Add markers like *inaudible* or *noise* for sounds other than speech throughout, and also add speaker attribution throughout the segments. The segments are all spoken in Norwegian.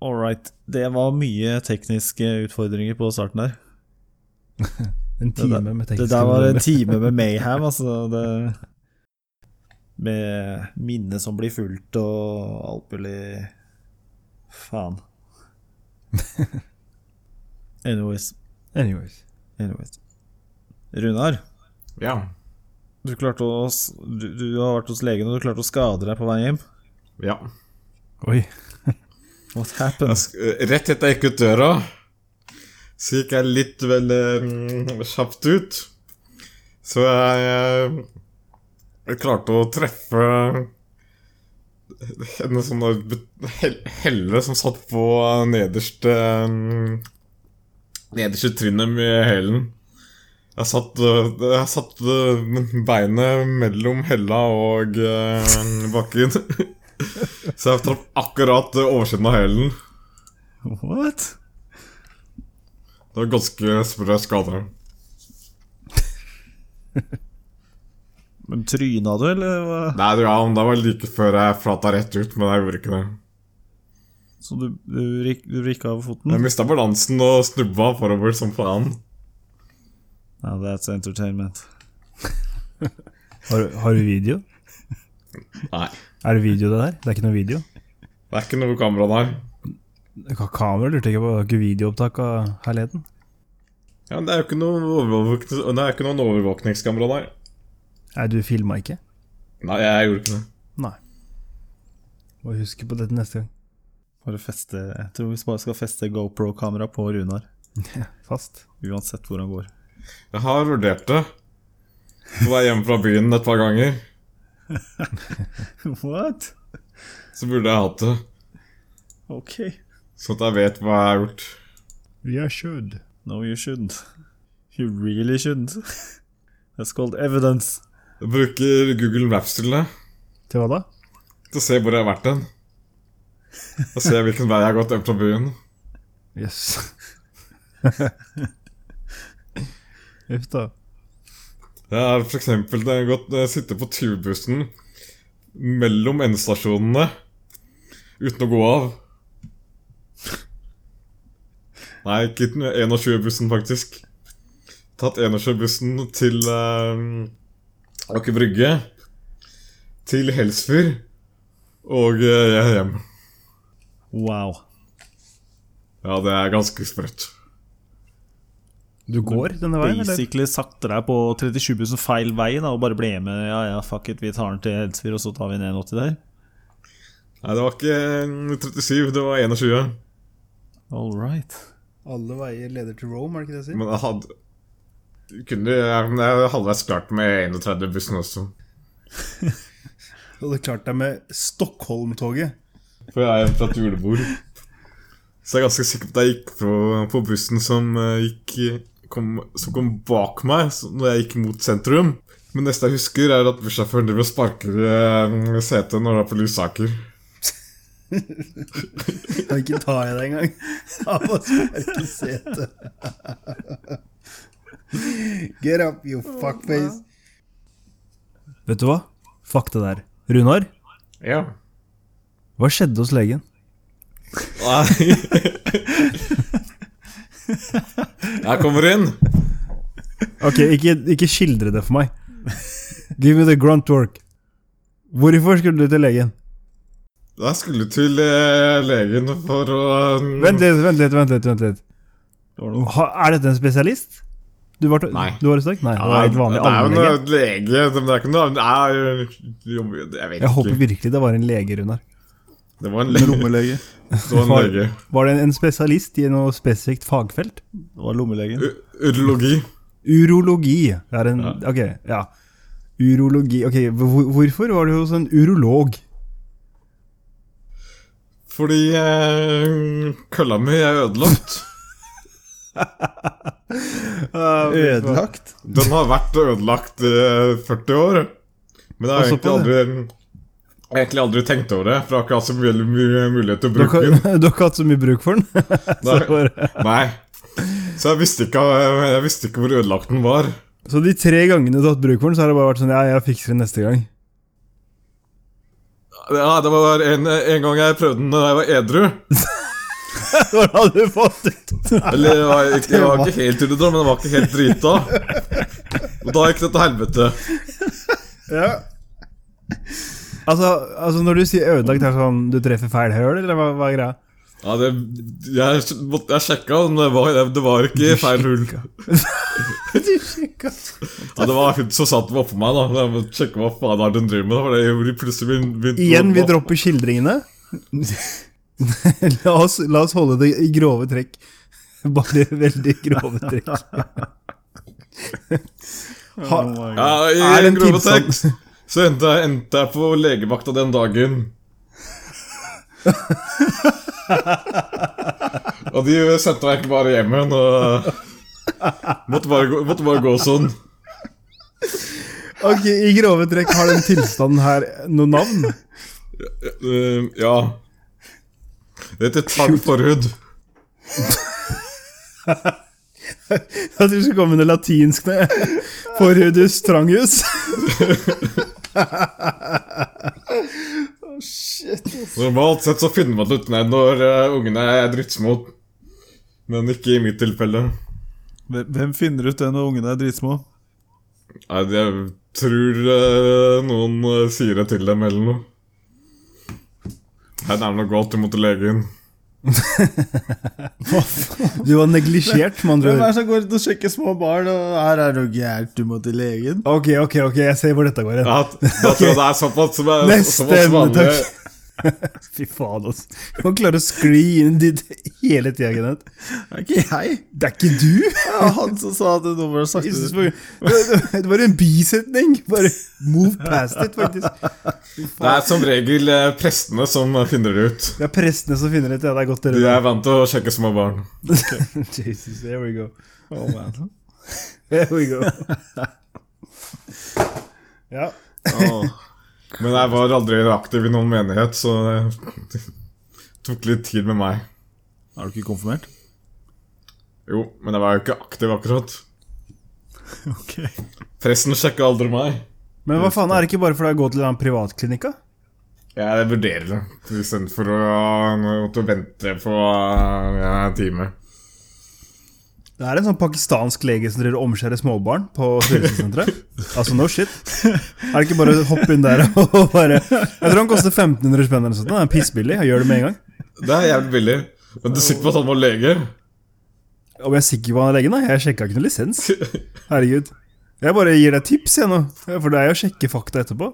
Speaker 1: All right. Det var mye tekniske utfordringer på starten der.
Speaker 2: En
Speaker 1: Det der-
Speaker 2: time med
Speaker 1: Det
Speaker 2: tekniske
Speaker 1: der var en
Speaker 2: problemer.
Speaker 1: time
Speaker 2: *laughs*
Speaker 1: med mayhem, altså. Det, med minne som blir fulgt og alt mulig
Speaker 2: *laughs*
Speaker 1: faen. Anyways.
Speaker 2: Anyways.
Speaker 1: Anyways. Runar,
Speaker 3: Ja.
Speaker 1: du, klarte å, s- du, du har vært hos legen og du klarte å skade deg på vei hjem.
Speaker 3: ja.
Speaker 2: Oi.
Speaker 1: What happened?
Speaker 3: Jeg sk- eh, Rett etter jeg gikk ut døra, så gikk jeg litt vel eh, kjapt ut. Så jeg, eh, jeg klarte å treffe en sånn der bu- hel- helle som satt på nederste eh, Nederste trinnet med hælen. Jeg satt, eh, jeg satt eh, beinet mellom hella og eh, bakken. *laughs* Så jeg traff akkurat eh, oversiden av hælen.
Speaker 1: What?
Speaker 3: Det var ganske sprø skade.
Speaker 1: Men tryna du, eller hva?
Speaker 3: Nei, du, ja, men det var like før jeg flata rett ut, men jeg gjorde ikke det.
Speaker 1: Så du, du, rik, du rikka over foten?
Speaker 3: Jeg mista balansen og snubba forover som faen.
Speaker 1: Now that's entertainment.
Speaker 2: Har, har du video?
Speaker 3: Nei,
Speaker 2: Er det video, det der? Det er ikke noe video?
Speaker 3: det er ikke noe kamera der.
Speaker 2: Ka- Kamera lurte jeg ikke på. Det er ikke videoopptak av herligheten?
Speaker 3: Ja, men Det er jo ikke noe overvåknings- det er ikke noen overvåkningskamera der.
Speaker 2: Nei, du filma ikke?
Speaker 3: Nei, jeg gjorde ikke det.
Speaker 2: Nei. Må huske på dette neste gang.
Speaker 1: Bare feste, jeg tror vi bare skal feste GoPro-kamera på Runar.
Speaker 2: *laughs* Fast.
Speaker 1: Uansett hvor han går. *laughs*
Speaker 3: Jeg har vurdert det. På vei hjem fra byen et par ganger,
Speaker 1: What?
Speaker 3: så burde jeg hatt det.
Speaker 1: Ok.
Speaker 3: Sånn at jeg vet hva jeg har gjort.
Speaker 2: Yeah, should.
Speaker 1: No, you shouldn't. You really shouldn't. *laughs* That's called evidence.
Speaker 3: Jeg bruker Google Maps til det.
Speaker 2: Til hva da?
Speaker 3: Til å se hvor jeg har vært hen. Og se hvilken vei jeg har gått hjem fra byen.
Speaker 2: Jøss. *laughs* Uff da.
Speaker 3: Jeg har for eksempel det har gått, eh, sittet på turbussen mellom endestasjonene uten å gå av. Nei, ikke den 21-bussen, faktisk. Tatt 21-bussen til eh, Aker Brygge, til Helsfyr og eh, jeg er hjem.
Speaker 1: Wow.
Speaker 3: Ja, det er ganske sprøtt.
Speaker 2: Du går denne veien, eller?
Speaker 1: Basically satte deg på 37 bussen feil vei da, og bare ble med. Ja, ja, fuck it, vi tar den til Helsfyr, og så tar vi ned en 80 der.
Speaker 3: Nei, det var ikke eh, 37, det var 21.
Speaker 1: All right.
Speaker 2: Alle veier leder til Rome, er det ikke det jeg
Speaker 3: Men jeg hadde kunne, jeg, jeg er halvveis klart med 31-bussen også.
Speaker 2: Du hadde klart deg med Stockholm-toget.
Speaker 3: For jeg er fra et julebord. Så jeg er ganske sikker på at jeg gikk på, på bussen som eh, gikk, kom, som kom bak meg så- når jeg gikk mot sentrum. Men neste jeg husker, er at bussjåføren driver og sparker eh, setet når det er på Lysaker.
Speaker 2: Kan ikke ta i det engang. *laughs* Han må sparke setet. *laughs* Get up, you fuckface. Vet du hva? Fuck det der. Runar,
Speaker 3: Ja.
Speaker 2: hva skjedde hos legen?
Speaker 3: Nei *laughs* Jeg kommer inn.
Speaker 2: Ok, ikke, ikke skildre det for meg. Give me the grunt work. Hvorfor skulle du til legen?
Speaker 3: Jeg skulle til eh, legen for å
Speaker 2: Vent litt, vent litt, vent litt. Vent litt.
Speaker 1: Det var noe.
Speaker 2: Ha, er dette en spesialist? Du var, til-
Speaker 3: Nei.
Speaker 2: Du var i støkk? Nei, det var helt vanlig
Speaker 3: det er jo
Speaker 2: allmennlege.
Speaker 3: en lege. men Det er ikke noe Nei, jo, Jeg vet
Speaker 2: Jeg håper
Speaker 3: ikke.
Speaker 2: virkelig det var en lege, Runar.
Speaker 3: Det var en lege.
Speaker 1: Lommelege.
Speaker 3: Det var en
Speaker 2: Far-
Speaker 3: lege.
Speaker 2: Var det en, en spesialist i noe spesifikt fagfelt?
Speaker 1: Det var lommelegen.
Speaker 3: U- Urologi.
Speaker 2: Urologi. Det er en
Speaker 3: Ja.
Speaker 2: Ok, ja. Urologi Ok, hvor, hvorfor var du hos en urolog?
Speaker 3: Fordi eh, kølla mi er ødelagt.
Speaker 1: Ødelagt?
Speaker 3: Den har vært ødelagt i 40 år. Men jeg har
Speaker 2: Og
Speaker 3: egentlig
Speaker 2: såpass,
Speaker 3: aldri jeg har egentlig aldri tenkt over det, for jeg har ikke hatt så mye mye mulighet til å
Speaker 2: Du
Speaker 3: bruke
Speaker 2: har, *laughs*
Speaker 3: den.
Speaker 2: ikke- du har ikke hatt så mye bruk for den? *laughs* så,
Speaker 3: Nei.
Speaker 2: bare-
Speaker 3: Nei. Så jeg visste, ikke, eh, jeg visste ikke hvor ødelagt den var.
Speaker 2: så de tre gangene du har hatt bruk for den, så har det bare vært sånn Ja, jeg fikser det neste gang. *laughs*
Speaker 3: Ja, det var en, en gang jeg prøvde den da jeg var edru.
Speaker 2: Når hadde du fått ut?
Speaker 3: Eller jeg var, ikke- jeg var ikke helt ulludra, men jeg var ikke helt drita. Og da gikk det til helvete.
Speaker 2: *laughs* Ja. Altså, altså, når du sier ødelagt, er det sånn du treffer feil høl, eller hva, hva er greia?
Speaker 3: Ja, det, jeg, måtte- jeg sjekka, men det var, det var ikke feil hull.
Speaker 2: Du sjekka
Speaker 3: Ja, det var hun som satt meg oppå meg, da. Jeg må sjekke hva faen er det hun driver med. da, For jeg blir plutselig begyn- begynt
Speaker 2: Igjen, vi
Speaker 3: å-
Speaker 2: dropper skildringene. *laughs* la, oss, la oss holde det i grove trekk. *laughs* Bare veldig grove trekk.
Speaker 1: *laughs*
Speaker 2: Ha,
Speaker 1: Oh
Speaker 3: ja, I
Speaker 2: Er det en
Speaker 3: en grove
Speaker 2: tilstand?
Speaker 3: tekst så endte jeg, endte jeg på legevakta den dagen. og de sendte meg ikke bare hjem igjen. og Måtte bare, gå, måtte bare gå sånn.
Speaker 2: *laughs* ok, I grove trekk har den tilstanden her noe navn? *laughs*
Speaker 3: Eh, ja. Det heter tang forhud.
Speaker 2: Jeg tror det skal komme under latinsk nå. *laughs* Forhudus trangus.
Speaker 3: Normalt sett så finner man det ut ned når eh, ungene er drittsmå. Men ikke i mitt tilfelle.
Speaker 1: Hvem hvem finner ut det når ungene er dritsmå?
Speaker 3: Nei, jeg tror eh, noen eh, sier det til dem eller noe. Nei, det er noe galt, du må til legen.
Speaker 2: *laughs* Du var neglisjert, med andre
Speaker 1: Hvem er
Speaker 2: ord.
Speaker 1: det som går ut og sjekker små barn? Og her er det noe gærent, du må til legen.
Speaker 2: Ok, ok, ok, jeg ser hvor dette går hen.
Speaker 3: Ja,
Speaker 2: *laughs*
Speaker 3: da tror jeg det er såpass, som er,
Speaker 2: Neste
Speaker 3: såpass
Speaker 2: emne,
Speaker 3: vanlig.
Speaker 2: takk. Fy faen, altså. Du må klare å skli inn dit hele tida, Kenneth.
Speaker 1: Det er ikke jeg.
Speaker 2: Det er ikke du!
Speaker 1: Det var han som sa at noen var sagt
Speaker 2: Jesus, for- Det det var en bisetning. Bare move past it, faktisk.
Speaker 3: Det er som regel eh, prestene som finner det ut.
Speaker 2: Det er prestene som finner ut, ja. Det er godt
Speaker 3: De
Speaker 2: dere
Speaker 3: er vant til å sjekke små barn.
Speaker 2: *laughs* Jesus, there we go.
Speaker 1: Oh, man.
Speaker 2: There we
Speaker 1: *laughs*
Speaker 2: go. Ja.
Speaker 3: Men jeg var aldri aktiv i noen menighet, så det tok litt tid med meg.
Speaker 1: Er du ikke konfirmert?
Speaker 3: Jo, men jeg var jo ikke aktiv akkurat.
Speaker 1: Ok.
Speaker 3: Presten sjekka aldri meg.
Speaker 2: Men hva faen, er det ikke bare for deg å gå til den privatklinikka?
Speaker 3: Jeg vurderer det, istedenfor å måtte vente på eh, en time.
Speaker 2: Det er en sånn pakistansk lege som driver og omskjærer småbarn på helsesenteret. Altså, no shit. Er det ikke bare å hoppe inn der og bare Jeg tror han koster 1500 spenn eller noe sånt. Han er pissbillig. Jeg gjør det med en gang.
Speaker 3: Det er jævlig billig. Men du sitter på at han var lege. *laughs*
Speaker 2: Om jeg er sikker på han er legen, da? Jeg sjekka ikke noe lisens. Herregud. Jeg bare gir deg tips, jeg nå. For det er jo å sjekke fakta etterpå.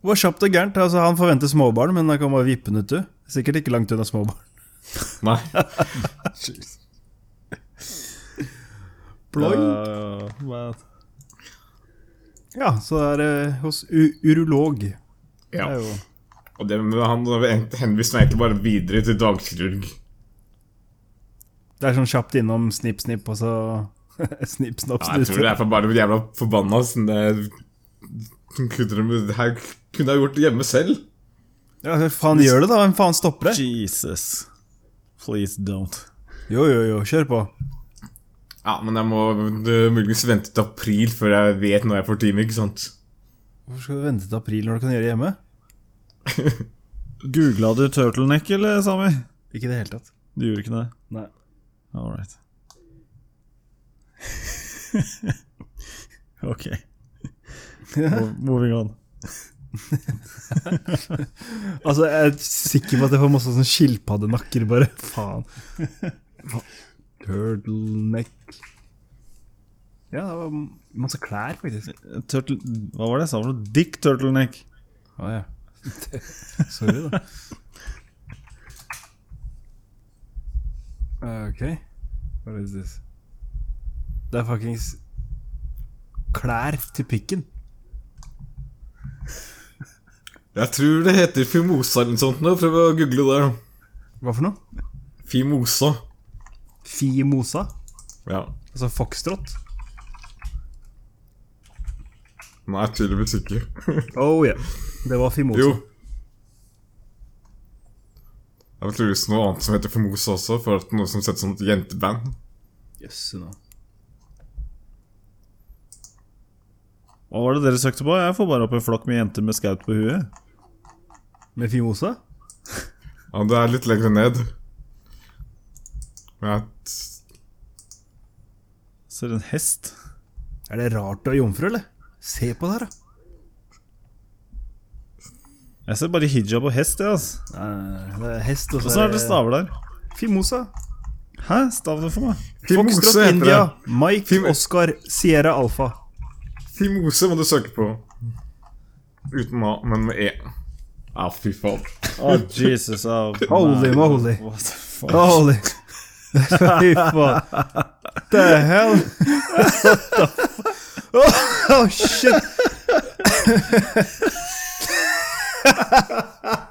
Speaker 2: Det var kjapt og gærent. Altså, han forventer småbarn, men han kan bare vippe den ut, du. Sikkert ikke langt unna småbarn.
Speaker 3: Nei.
Speaker 1: Uh, hva-
Speaker 2: Ja, så er det hos u urolog. Det *laughs*
Speaker 3: Ja.
Speaker 2: er jo
Speaker 3: Og det, men han henviste meg egentlig bare videre til dagkirurg.
Speaker 2: Det er sånn kjapt innom snipp, snipp, og så *laughs* snipp, snapp,
Speaker 3: Nei, jeg tror det
Speaker 2: snute.
Speaker 3: er for bare jævla forbanna. Sånn det, kunne de, det her kunne jeg gjort hjemme selv.
Speaker 2: Ja, hva faen gjør det, da? Hvem faen stopper det?
Speaker 1: Jesus. Please don't.
Speaker 2: Jo, jo, jo, kjør på.
Speaker 3: Ja, men jeg må eh, muligens vente til april før jeg vet når jeg får time, ikke sant?
Speaker 2: Hvorfor skal du vente til april når du kan gjøre det hjemme?
Speaker 1: Googla du turtleneck, eller, Sami?
Speaker 2: Ikke i det hele tatt.
Speaker 1: Du gjorde ikke det?
Speaker 2: Nei.
Speaker 1: All right. *laughs* ok. Mo- Moving on.
Speaker 2: Altså, jeg er sikker på at jeg får masse sånn skilpaddenakker, bare. *laughs* Faen. Turtleneck Ja, det var masse klær, faktisk.
Speaker 1: Turtle, hva var det jeg sa for noe? Dick turtleneck.
Speaker 2: Å *laughs* ja. Sorry, da. Ok. What is this? Det er fuckings klær til pikken.
Speaker 3: Jeg tror det heter Fimosa eller noe sånt. nå, Prøv å google det.
Speaker 2: Hva for noe?
Speaker 3: Fimosa.
Speaker 2: Fimosa?
Speaker 3: Ja.
Speaker 2: Altså foxtrot?
Speaker 3: Nei, tydeligvis ikke. *laughs*
Speaker 2: Oh yeah. Det var Fimosa.
Speaker 3: Jo. Jeg vil tydeligvis noe annet som heter Formosa også, for at noe som settes som et jenteband.
Speaker 2: Jøsse nå.
Speaker 1: Hva var det dere søkte på? Jeg får bare opp en flokk med jenter med skaut på huet.
Speaker 2: Med Fimosa?
Speaker 3: Ja, Ja, det er litt lenger ned. Men jeg
Speaker 1: Ser en hest.
Speaker 2: Er det rart du er jomfru, eller? Se på det her, da.
Speaker 1: Jeg ser bare hijab og hest, jeg, altså.
Speaker 2: Nei, Det er hest, og
Speaker 1: Åssen er det staver der?
Speaker 2: Fimosa.
Speaker 1: Hæ? Stav det for meg.
Speaker 3: Fimosa
Speaker 2: Foxtrot
Speaker 3: heter
Speaker 2: India.
Speaker 3: det.
Speaker 2: Mike
Speaker 3: Fimo-
Speaker 2: Oscar Sierra Alfa.
Speaker 3: Fimose må du søke på. Uten A, men med E. Ja, fy faen.
Speaker 1: Oh, Jesus, oh,
Speaker 2: Holy
Speaker 1: man.
Speaker 2: moly.
Speaker 1: What the fuck?
Speaker 2: Holy *laughs* Fy faen. The hell? What the fuck? *laughs* Oh, shit.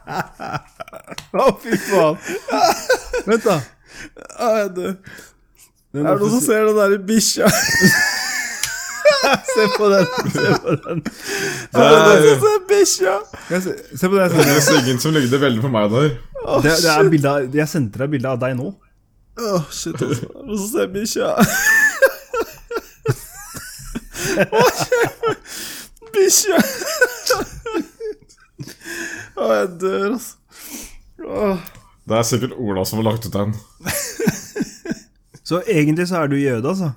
Speaker 2: Å, fy faen. Vent, da.
Speaker 1: Er det
Speaker 2: Den
Speaker 1: noen som ser den derre bikkja?
Speaker 2: Se på den. *laughs* Se på den.
Speaker 3: Det er,
Speaker 2: Jeg se- Se på den. Oh,
Speaker 3: det er Siggen som lygde veldig på meg der.
Speaker 2: Det, det er bildet av, jeg sendte deg bilde av deg nå.
Speaker 1: Åh, shit, altså. Og så ser bikkja *laughs* Bikkja! Å, jeg dør, altså. Åh.
Speaker 3: Det er sikkert Ola som har lagt ut den.
Speaker 2: Så egentlig så er du jøde, altså.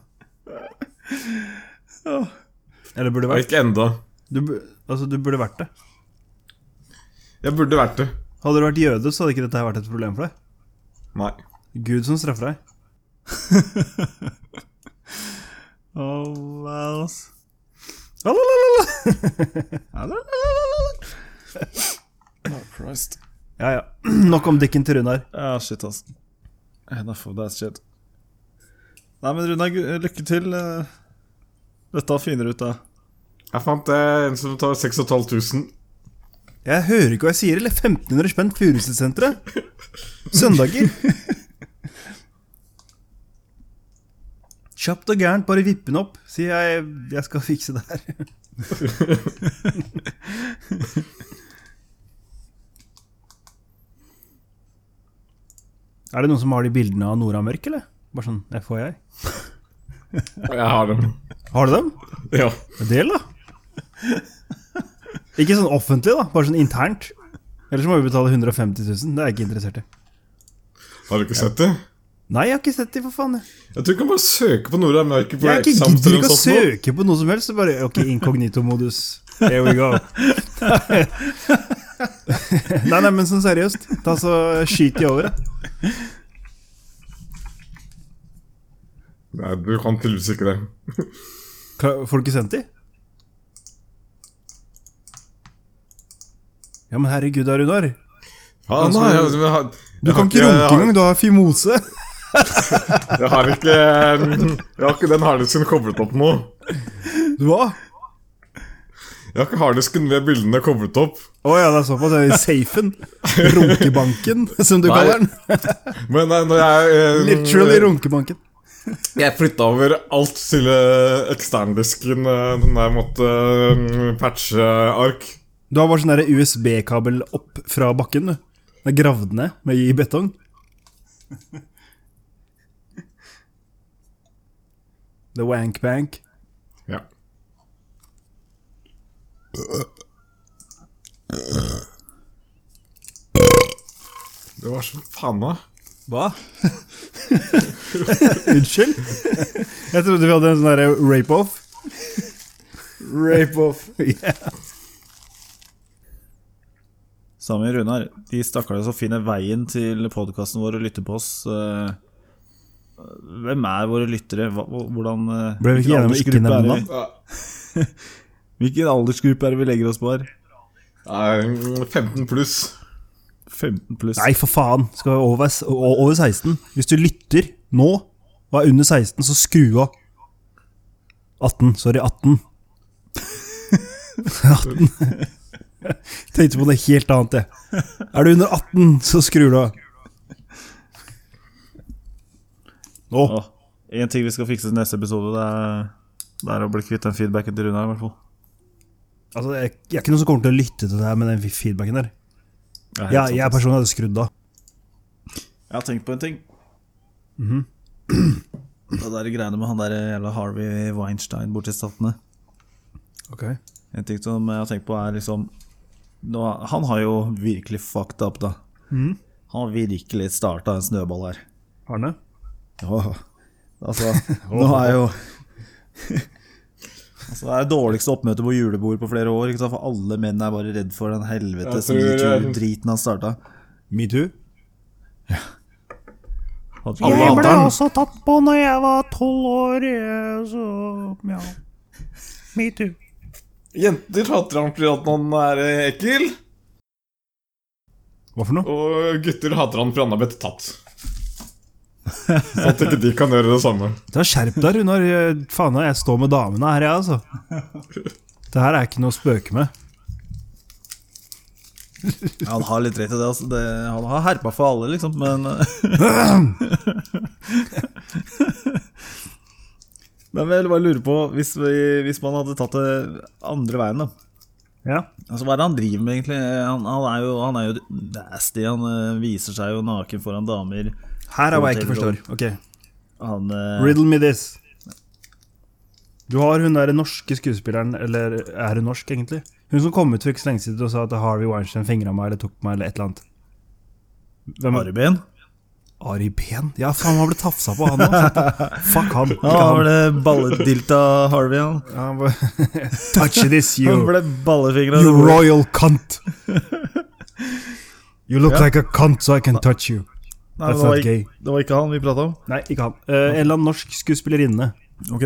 Speaker 1: Ja.
Speaker 2: Eller burde
Speaker 3: Ja,
Speaker 2: vært.
Speaker 3: ikke enda.
Speaker 2: Du, bu- altså, du burde vært det.
Speaker 3: Jeg burde vært det.
Speaker 2: Hadde du vært jøde, så hadde ikke dette her vært et problem for deg.
Speaker 3: Nei.
Speaker 2: Gud som straffer deg.
Speaker 1: Åh, wow, altså.
Speaker 2: Lalalala. *laughs*
Speaker 1: Oh, Christ.
Speaker 2: Ja, *clears throat* ja. Nok om dikken til Runar.
Speaker 1: Ja, shit, altså. Enough of that shit. Nei, men Runa, gu- lykke til. eh. Dette finner du ut av.
Speaker 3: Jeg fant eh, en som tar 6500.
Speaker 2: Jeg hører ikke hva jeg sier, eller? 1500 spenn Furuset-senteret? Søndager? Kjapt og gærent, bare vipp den opp. Si jeg, jeg skal fikse det her. er det noen som har de bildene av Nora Mørk, eller? Bare sånn FHI.
Speaker 3: Jeg har den.
Speaker 2: Har du dem?
Speaker 3: Ja.
Speaker 2: Del, da. Ikke sånn offentlig, da. Bare sånn internt. Ellers må vi betale 150 000. Det er jeg ikke interessert i.
Speaker 3: Har du ikke sett det?
Speaker 2: Nei, jeg har ikke sett de, for faen. Jeg,
Speaker 3: Jeg tror du kan bare søke på Nora Merker på
Speaker 2: jeg er ikke
Speaker 3: Exams
Speaker 2: gidder
Speaker 3: eller
Speaker 2: ikke
Speaker 3: noe
Speaker 2: å
Speaker 3: sånt. nå.
Speaker 2: søke på noe som helst. Så bare Ok, inkognito-modus. Here we go. *laughs* nei, nei, men sånn seriøst. Da så skyter jeg over, jeg.
Speaker 3: Nei, du kan tydeligvis ikke det.
Speaker 2: Ka- Får du ikke sendt de? Ja, men herregud, da, Runar.
Speaker 3: Ja, nei, jeg, altså, jeg, har-
Speaker 2: Du
Speaker 3: jeg har
Speaker 2: kan ikke runke engang. Du har fimose. *laughs*
Speaker 3: Jeg har ikke eh, Jeg har ikke den harddisken koblet opp nå.
Speaker 2: Du hva?
Speaker 3: Jeg har ikke harddisken ved bildene koblet opp.
Speaker 2: Å ja, det er såpass. Det er safen. Runkebanken, som du
Speaker 3: Nei.
Speaker 2: kaller den.
Speaker 3: Men eh, når jeg
Speaker 2: Mm,
Speaker 3: eh,
Speaker 2: Literally runkebanken.
Speaker 3: Jeg flytta over alt til eh, eksterndisken eh, når jeg måtte eh, patche ark.
Speaker 2: Du har bare sånn der USB-kabel opp fra bakken, du. Den er gravd ned med i betong. The wank bank.
Speaker 3: Ja. Det var så faen meg.
Speaker 2: Hva? *laughs* Unnskyld? Jeg trodde vi hadde en sånn derre rape-off. Rape-off. Yeah.
Speaker 1: Sami og Runar, de stakkarene som finner veien til podkasten vår og lytter på oss eh, Hvem er våre lyttere? Hva, hva- hvordan eh,
Speaker 2: Ble vi ikke
Speaker 1: hvilken aldersgruppe er det
Speaker 2: enige om å ikke nevne
Speaker 1: vi-
Speaker 2: navn?
Speaker 3: Ja.
Speaker 1: Hvilken aldersgruppe er det vi legger oss på her?
Speaker 3: Nei, 15 pluss.
Speaker 1: 15 pluss.
Speaker 2: Nei, for faen. Skal være over, over 16. Hvis du lytter nå og er under 16, så skru av. 18. Sorry, 18. *laughs* 18. *laughs* Tenkte på noe helt annet, jeg. Er du under 18, så skrur du av. Nå.
Speaker 1: Åh, En ting vi skal fikse til neste episode, det er, det er å bli kvitt den feedbacken til Runar. i hvert fall
Speaker 2: Altså, jeg, jeg er ikke noen som kommer til å lytte til det her med den feedbacken der.
Speaker 1: Det er helt
Speaker 2: Jeg,
Speaker 1: sant,
Speaker 2: jeg
Speaker 1: altså.
Speaker 2: personlig hadde skrudd av.
Speaker 1: jeg har tenkt på en ting.
Speaker 2: Mhm.
Speaker 1: *clears throat* Det der greiene med han der jævla Harvey Weinstein borti Statene.
Speaker 2: Okay.
Speaker 1: En ting
Speaker 3: Mm.
Speaker 1: som jeg har tenkt på er liksom nå, Han har jo virkelig fucked up, da. Han har virkelig starta en snøball
Speaker 3: *laughs*
Speaker 1: her.
Speaker 2: Arne?
Speaker 1: Ja, altså Nå er jo *laughs* Altså, det er det dårligste oppmøtet på julebord på flere år. Ikke sant? For alle menn er bare redd for den helvetes
Speaker 3: Jeg tror-
Speaker 1: metoo-driten han starta.
Speaker 2: Metoo?
Speaker 1: Alle hater han.
Speaker 2: også tatt på når jeg var tolv år, eh, så ja. Metoo.
Speaker 3: Jenter hater han fordi at han er eh, ekkel,
Speaker 2: Hva for noe?
Speaker 3: og gutter hater han fordi han har blitt tatt. Så at ikke de kan gjøre det samme.
Speaker 2: Ta Skjerp deg, Runar. Jeg- Faen, jeg står med damene her, jeg, altså. Det her er ikke noe å spøke med.
Speaker 1: Ja, han har litt rett i det. Altså. det han har herpa for alle, liksom, men eh. Men jeg vil bare lure på, hvis, vi, hvis man hadde tatt det andre veien, da.
Speaker 2: Ja.
Speaker 1: Altså, hva er det han driver med, egentlig? Han, han, er, jo, han er jo nasty. Han eh, viser seg jo naken foran damer.
Speaker 2: Her er hva jeg ikke forstår. Ok,
Speaker 1: Han eh,
Speaker 2: Riddle me this. Du har hun der norske skuespilleren, eller er hun norsk, egentlig? Hun som kom ut for ikke så lenge siden og sa at Harvey Weinstein fingra meg eller tok meg eller et eller annet. Hvem er
Speaker 1: Arben?
Speaker 2: Ari Behn? Ja, faen, han ble tafsa på, han òg. Fuck han. Ikke
Speaker 1: Ja, han
Speaker 2: han.
Speaker 1: ble balledilta Harvey, han.
Speaker 2: Ja, *laughs* han ble... Touch this, you.
Speaker 1: Han ble ballefingra.
Speaker 2: You royal cunt. You look
Speaker 1: Ja.
Speaker 2: like a cunt, so I can touch you.
Speaker 1: Nei,
Speaker 2: That's
Speaker 1: det, var
Speaker 2: not
Speaker 1: ikke,
Speaker 2: gay.
Speaker 1: det var ikke han vi prata om.
Speaker 2: Nei, ikke han. Eh, en eller annen norsk skuespillerinne.
Speaker 1: Ok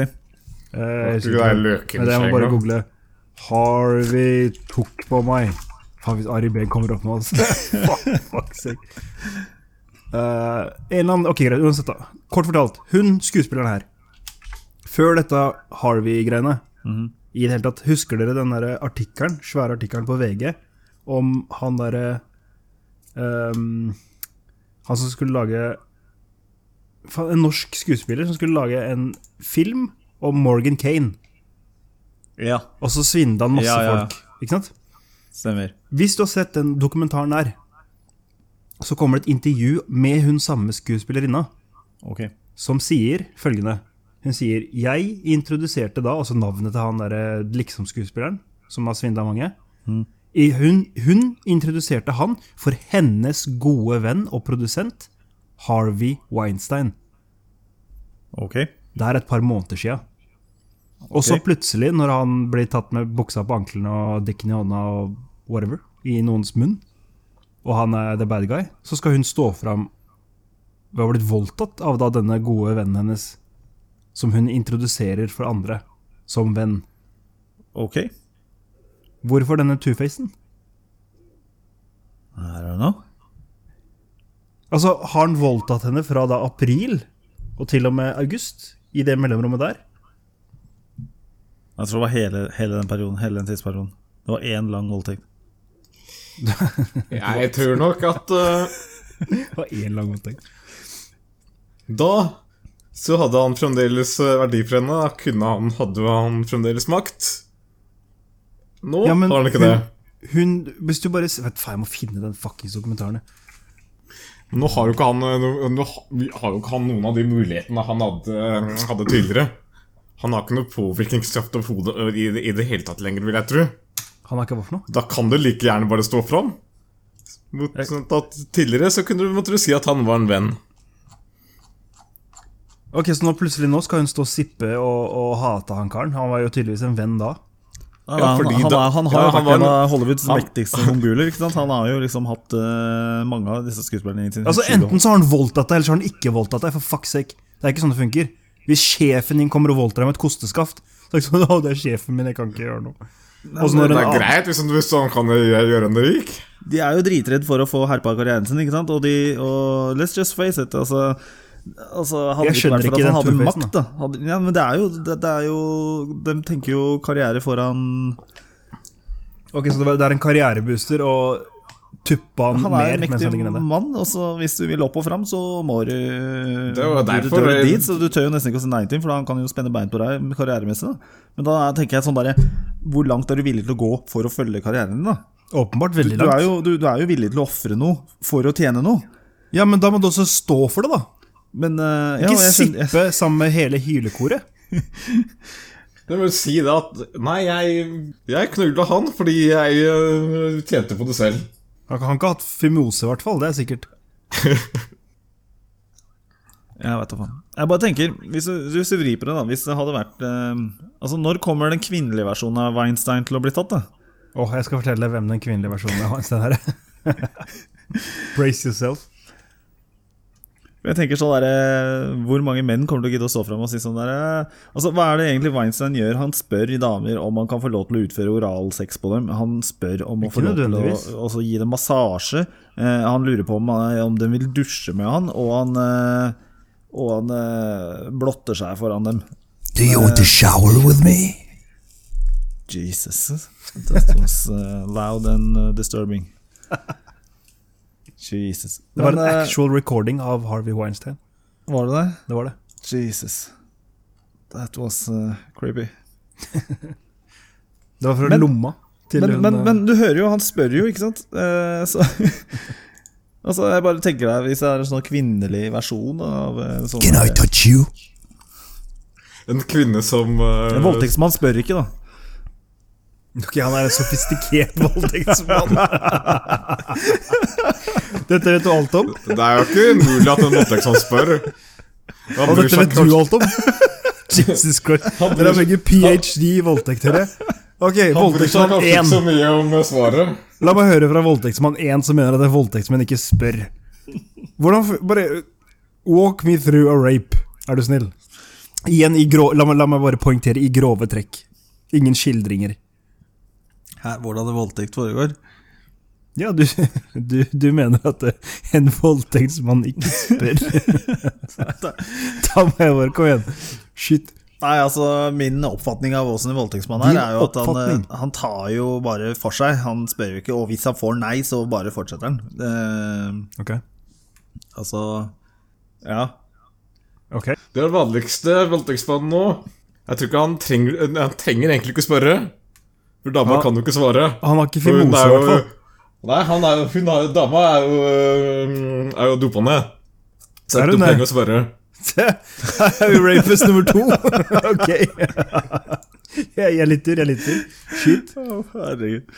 Speaker 2: Eh, jeg husker
Speaker 3: Tror ikke det er
Speaker 2: ikke. Men det jeg må
Speaker 3: løkeskjegg
Speaker 2: bare
Speaker 3: nå.
Speaker 2: google. Harvey tok på meg. Faen, hvis Ari Behn kommer opp nå, altså. fuck, fuck sake. Eh, en eller annen, ok, greit, uansett da. Kort fortalt, hun skuespilleren her. Før dette Harvey-greiene, i det hele tatt, husker dere den der artikkelen, svære artikkelen på VG, om han derre ehm, Han som skulle lage faen, En norsk skuespiller som skulle lage en film om Morgan Kane.
Speaker 1: Ja,
Speaker 2: Og så svindla han masse
Speaker 1: Ja, ja, ja.
Speaker 2: folk. Ikke sant?
Speaker 1: stemmer.
Speaker 2: Hvis du har sett den dokumentaren der, så kommer det et intervju med hun samme skuespillerinna,
Speaker 1: Ok.
Speaker 2: som sier følgende. Hun sier Jeg introduserte da altså navnet til han derre liksom-skuespilleren, som har svindla mange.
Speaker 1: Mm.
Speaker 2: I, hun, hun introduserte han for hennes gode venn og produsent Harvey Weinstein.
Speaker 1: Ok.
Speaker 2: Det er et par måneder sia. Og så
Speaker 1: Ok.
Speaker 2: plutselig, når han blir tatt med buksa på ankelen og dikken i hånda og whatever, i noens munn, og han er the bad guy, så skal hun stå fram ved å ha blitt voldtatt av da denne gode vennen hennes, som hun introduserer for andre som venn.
Speaker 1: Ok.
Speaker 2: Hvorfor denne two-facen?
Speaker 1: I don't know.
Speaker 2: Altså, har han voldtatt henne fra da april og til og med august, i det mellomrommet der?
Speaker 1: Jeg tror det var hele, hele den perioden, hele den tidsperioden. Det var én lang voldtekt.
Speaker 3: Jeg tror nok at eh,
Speaker 2: Det var én lang voldtekt.
Speaker 3: Da så hadde han fremdeles eh, verdi for henne. Da kunne han, hadde han fremdeles makt. Nå
Speaker 2: Ja, men
Speaker 3: har han ikke
Speaker 2: hun-
Speaker 3: det.
Speaker 2: Hun Hvis du bare Vet faen, jeg må finne den fuckings dokumentaren. jeg.
Speaker 3: Nå har jo ikke han, eh, no- nå ha- vi har jo ikke han noen av de mulighetene han hadde, eh, hadde tidligere. Han har ikke noe påvirkningskraft over hodet ø, i, det- i det hele tatt lenger, vil jeg tro.
Speaker 2: Han har ikke hva for noe?
Speaker 3: Da kan du like gjerne bare stå fram. Mot, sånn at tidligere så kunne du, måtte du si at han var en venn.
Speaker 2: Ok, Så nå plutselig nå skal hun stå og sippe og, og hate han karen? Han var jo tydeligvis en venn da.
Speaker 1: Ja,
Speaker 3: Ja,
Speaker 1: han,
Speaker 3: fordi
Speaker 1: han,
Speaker 3: da-
Speaker 1: er- han har
Speaker 3: ja,
Speaker 1: jo
Speaker 3: han
Speaker 1: vært
Speaker 3: var
Speaker 1: en
Speaker 3: en-
Speaker 1: av Hollywoods
Speaker 3: han-
Speaker 1: mektigste mongoler. ikke sant? Han har jo liksom hatt eh, mange av disse skuespillerne i sin
Speaker 2: Altså
Speaker 1: skyld.
Speaker 2: Enten så har han voldtatt deg, eller så har han ikke voldtatt deg. For fuck's sake. Det er ikke sånn det funker. Hvis sjefen din kommer og voldtar deg med et kosteskaft, så er det ikke sånn *laughs* 'Å, det er sjefen min, jeg kan ikke gjøre noe'. Og så når
Speaker 3: Det
Speaker 2: en
Speaker 3: er
Speaker 2: annen
Speaker 3: greit hvis han, hvis han kan gjøre gjøre henne rik.
Speaker 1: De er jo dritredd for å få herpa karrieren sin, ikke sant? Og, de, og let's just face it, altså, altså hadde det
Speaker 2: Jeg
Speaker 1: ikke
Speaker 2: skjønner
Speaker 1: vært for
Speaker 2: ikke
Speaker 1: at han hadde
Speaker 2: den
Speaker 1: makt,
Speaker 2: turbasen,
Speaker 1: da. Hadde, ja, men det er, jo, det, det er jo De tenker jo karriere foran
Speaker 2: Ok, Så det var- det er en karrierebooster, og tuppa han,
Speaker 1: Han er
Speaker 2: mer
Speaker 1: en
Speaker 2: mens han ligger
Speaker 1: mektig
Speaker 2: nede?
Speaker 1: mann, og så hvis du vil opp og fram, så må du
Speaker 3: Det er jo
Speaker 1: du- du
Speaker 3: derfor-
Speaker 1: dør dit. Så du tør jo nesten ikke å si nei til ham, for han kan jo spenne bein på deg karrieremessig. Da. Men da er- tenker jeg sånn derre Hvor langt er du villig til å gå for å følge karrieren din, da?
Speaker 2: Åpenbart veldig
Speaker 1: Du er
Speaker 2: langt.
Speaker 1: jo, du, du er jo villig til å ofre noe for å tjene noe.
Speaker 2: Ja, men da må du også stå for det, da.
Speaker 1: Men eh, ja,
Speaker 2: Ikke
Speaker 1: jeg skjønner- jeg-
Speaker 2: sippe sammen med hele hylekoret.
Speaker 3: Det vil si det at Nei, jeg, jeg knulla han fordi jeg øh, tjente på det selv.
Speaker 2: Han kan han kan ha hatt fimose, i hvert fall. Det er sikkert.
Speaker 1: Jeg vet da faen. Jeg bare tenker, hvis du, hvis du vrir på det, da Hvis det hadde vært eh, Altså, når kommer den kvinnelige versjonen av Weinstein til å bli tatt, da?
Speaker 2: Åh, jeg skal fortelle deg hvem den kvinnelige versjonen av Einstein er.
Speaker 1: *laughs*
Speaker 2: Brace yourself.
Speaker 1: Jeg tenker sånn der, eh, Hvor mange menn kommer til å gidde å stå fram og si sånn der eh, Altså, Hva er det egentlig Weinstein gjør? Han spør damer om han kan få lov til å utføre oralsex på dem. Han spør om å
Speaker 2: Ikke
Speaker 1: få lov til å
Speaker 2: nødvendigvis.
Speaker 1: og så gi dem massasje. Eh, han lurer på om, eh, om de vil dusje med han, og han, eh, og han eh, blotter seg foran dem.
Speaker 4: Do you want to shower with me?
Speaker 1: Jesus. That was uh, loud and uh, disturbing. Jesus.
Speaker 2: Det var
Speaker 1: Men,
Speaker 2: en
Speaker 1: eh,
Speaker 2: actual recording av Harvey Weinstein.
Speaker 1: var det det?
Speaker 2: Det var det.
Speaker 1: Jesus. That was uh, creepy.
Speaker 2: Det var fra
Speaker 1: Men-
Speaker 2: lomma til
Speaker 1: Men,
Speaker 2: hun
Speaker 1: men,
Speaker 2: eh,
Speaker 1: men du hører jo, han spør jo, ikke sant? Eh, så *laughs* Altså, jeg bare tenker deg, Hvis det er en sånn kvinnelig versjon av eh, en sånn
Speaker 4: Can I touch you?
Speaker 3: En kvinne som eh,
Speaker 1: En voldtektsmann spør ikke, da.
Speaker 2: Ok, han er en sofistikert *laughs*
Speaker 1: *laughs*
Speaker 2: voldtektsmann. Dette vet du alt om,
Speaker 3: Det er jo ikke umulig at en voldtektsmann spør. Han
Speaker 2: og
Speaker 3: bryr
Speaker 2: dette
Speaker 3: seg
Speaker 2: vet du
Speaker 3: kanskje-
Speaker 2: alt om. Jesus Christ.
Speaker 3: Han
Speaker 2: Dere er
Speaker 3: bryr-
Speaker 2: begge ph.d. i voldtekt, dere. Ok,
Speaker 3: han bryr seg
Speaker 2: voldtektsmann
Speaker 3: kanskje ikke
Speaker 2: 1.
Speaker 3: så mye om eh, svaret.
Speaker 2: La meg høre fra voldtektsmann 1 som mener at en voldtektsmann ikke spør. Hvordan f- Bare walk me through a rape, er du snill. Igjen i grå... La meg, la meg bare poengtere i grove trekk. Ingen skildringer.
Speaker 1: Hæ, hvordan det voldtekt foregår?
Speaker 2: Ja, du, *laughs* du, du mener at eh, en voldtektsmann ikke *laughs* spør? da må jeg bare Kom igjen. Shit.
Speaker 1: Nei, altså, Min oppfatning av åssen en voldtektsmann er,
Speaker 2: Din
Speaker 1: er jo at han,
Speaker 2: oppfatning?
Speaker 1: eh, han tar jo bare for seg. Han spør jo ikke, og hvis han får nei, så bare fortsetter han. Eh,
Speaker 2: Ok.
Speaker 1: altså Ja.
Speaker 2: Ok.
Speaker 3: Det er den vanligste voldtektsmannen nå. Jeg tror ikke han trenger Han trenger egentlig ikke å spørre. For dama kan jo ikke svare.
Speaker 2: Han har ikke
Speaker 3: For hun
Speaker 2: fimose,
Speaker 3: er
Speaker 2: i hvert
Speaker 3: jo
Speaker 2: fall. *laughs*
Speaker 3: Nei, han er jo hun er, jo- Dama er jo øh, Er jo dopa ned. Så
Speaker 2: Er hun det?
Speaker 3: jeg tror ikke hun trenger å spørre.
Speaker 2: Her er vi rapist nummer to. *laughs* ok. jeg, jeg lytter, jeg lytter. Shit.
Speaker 1: herregud.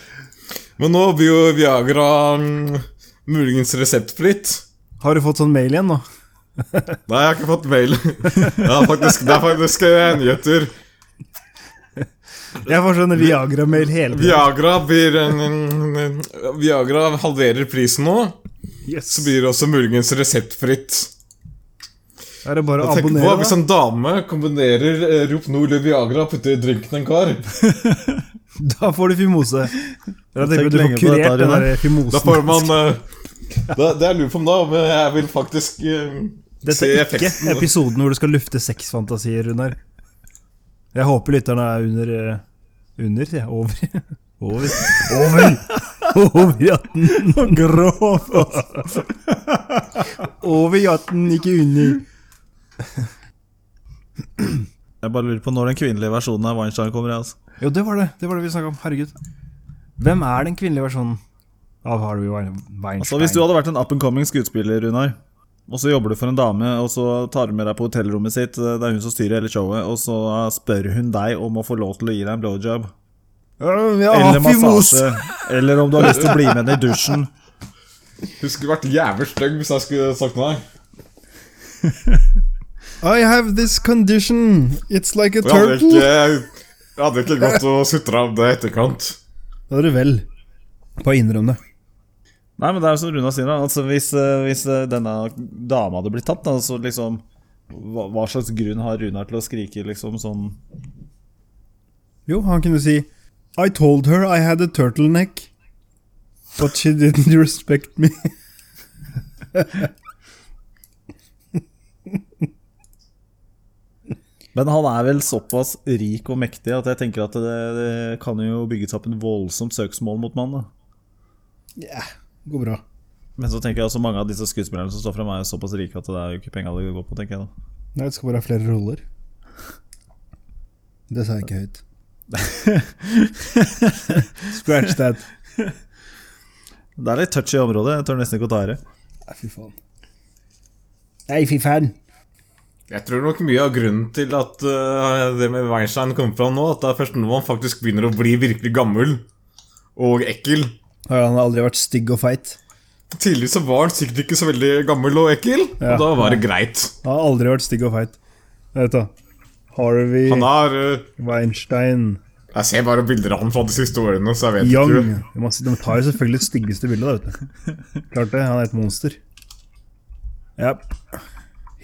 Speaker 3: Men nå blir jo Viagra mm, muligens reseptfritt.
Speaker 2: Har du fått sånn mail igjen nå?
Speaker 3: Nei, jeg har ikke fått mail. *laughs* Det er faktisk, det er faktisk eh, nyheter.
Speaker 2: Jeg får sånn Viagra-mail hele tiden.
Speaker 3: Viagra blir en, en, en, Viagra halverer prisen nå.
Speaker 2: Yes.
Speaker 3: Så blir det også muligens reseptfritt.
Speaker 2: Er det bare å
Speaker 3: Tenk på
Speaker 2: abonnere,
Speaker 3: hvis
Speaker 2: da?
Speaker 3: en dame kombinerer eh, Rohypnol og Viagra og putter i drinken en kar.
Speaker 2: Da får du fimose. Da
Speaker 1: tenk
Speaker 2: tenker jeg at du
Speaker 1: lenge
Speaker 2: får
Speaker 1: på dette her,
Speaker 2: kurert den
Speaker 1: Rune.
Speaker 2: der fimosen.
Speaker 3: Da får man eh, *laughs* da, Det er lurt på om da, men jeg vil faktisk eh,
Speaker 2: Dette
Speaker 3: se
Speaker 2: er ikke
Speaker 3: effekten.
Speaker 2: episoden hvor du skal lufte sexfantasier, Runar. Jeg håper lytterne er under eh, Under, sier jeg. Over. *laughs* Over. Over, over jatten. Grov, altså. Over jatten, ikke under.
Speaker 1: Jeg bare lurer på når den kvinnelige versjonen av Weinstein kommer. jeg, Altså.
Speaker 2: Jo, det var det. Det var det vi snakka om. Herregud. Hvem er den kvinnelige versjonen av Harvey Wein- Weinstein?
Speaker 1: Altså, hvis du hadde vært en up and coming skuespiller, Runar, og så jobber du for en dame, og så tar du med deg på hotellrommet sitt, eh, det er hun som styrer hele showet, og så spør hun deg om å få lov til å gi deg en blowjob.
Speaker 2: Øh, Jeg har
Speaker 1: Eller
Speaker 2: fimose!
Speaker 1: massasje. Eller om du har lyst til å bli med henne i dusjen.
Speaker 3: Du skulle vært jævlig stygg hvis jeg skulle sagt nei.
Speaker 2: I have this condition. It's like a
Speaker 3: Og jeg hadde
Speaker 2: turtle.
Speaker 3: ikke, jeg hadde ikke gått og sutra om det i etterkant.
Speaker 2: Da er du vel. Bare innrøm det.
Speaker 1: Nei, men det er jo som Runa sier, da. Altså, hvis, eh, hvis eh, denne dama hadde blitt tatt, da, så liksom hva, hva slags grunn har Runar til å skrike liksom sånn
Speaker 2: Jo, han kunne si I told her I had a turtleneck But she didn't *laughs* respect me
Speaker 1: Men han er vel såpass rik og mektig at jeg tenker at det, det kan jo bygges opp en voldsomt søksmål mot mannen. da.
Speaker 2: Går bra
Speaker 1: Men så tenker jeg også mange av disse skuespillerne som står frem, er jo såpass rike at det er jo ikke penga det går på, tenker jeg da.
Speaker 2: Nei, det skal bare ha flere roller Det sa jeg ikke
Speaker 1: *laughs*
Speaker 2: høyt Scratch that
Speaker 1: Det er litt touchy område, jeg tør nesten ikke å ta i det.
Speaker 2: Nei, fy faen Nei, fy faen
Speaker 3: Jeg tror nok mye av grunnen til at eh, det med Weinstein kommer fram nå, at det er først nå han faktisk begynner å bli virkelig gammel og ekkel.
Speaker 2: Han har aldri vært stygg og feit
Speaker 3: Tidligere så var han sikkert ikke så veldig gammel og ekkel,
Speaker 2: Ja.
Speaker 3: og da var det greit.
Speaker 2: Han har aldri vært stygg og feit. Jeg vet da. Harvey
Speaker 3: Han har eh,
Speaker 2: Weinstein
Speaker 3: Jeg ser bare bilder av han fra de siste årene, så jeg vet
Speaker 2: Young.
Speaker 3: ikke.
Speaker 2: De må- de tar jo selvfølgelig det styggeste bildet, da, vet du. Klart det. Han er et monster. Ja.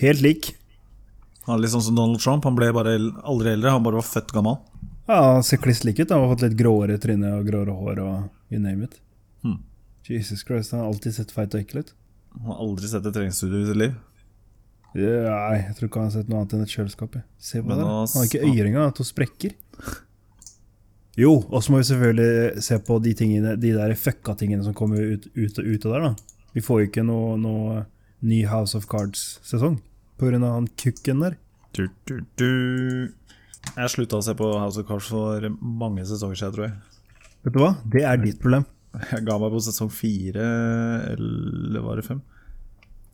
Speaker 2: Helt lik.
Speaker 1: Han er litt sånn som Donald Trump. Han ble bare el- aldri eldre, han bare var født gammel.
Speaker 2: Ja, han ser kliss lik ut. da. Han har fått litt gråere tryne og gråere hår og you name it.
Speaker 3: Hmm.
Speaker 2: Jesus Christ, han har alltid sett feit og ekkel ut.
Speaker 1: Han har aldri sett et treningsstudio i sitt liv.
Speaker 2: Ja, Nei, jeg tror ikke han har sett noe annet enn et kjøleskap. jeg. Se på
Speaker 1: Men
Speaker 2: det. der.
Speaker 1: han-
Speaker 2: Han har ikke øyer engang, han har to sprekker. Jo, og så må vi selvfølgelig se på de, tingene, de der fucka tingene som kommer ut, ut, og ut av der. da. Vi får jo ikke noe, noe ny House of Cards-sesong pga. han kukken der.
Speaker 1: Du, du, du. Jeg slutta å se på House of Cards for mange sesonger siden, tror jeg.
Speaker 2: Vet du hva? Det er ditt problem.
Speaker 1: Jeg ga meg på sesong fire, eller var det fem?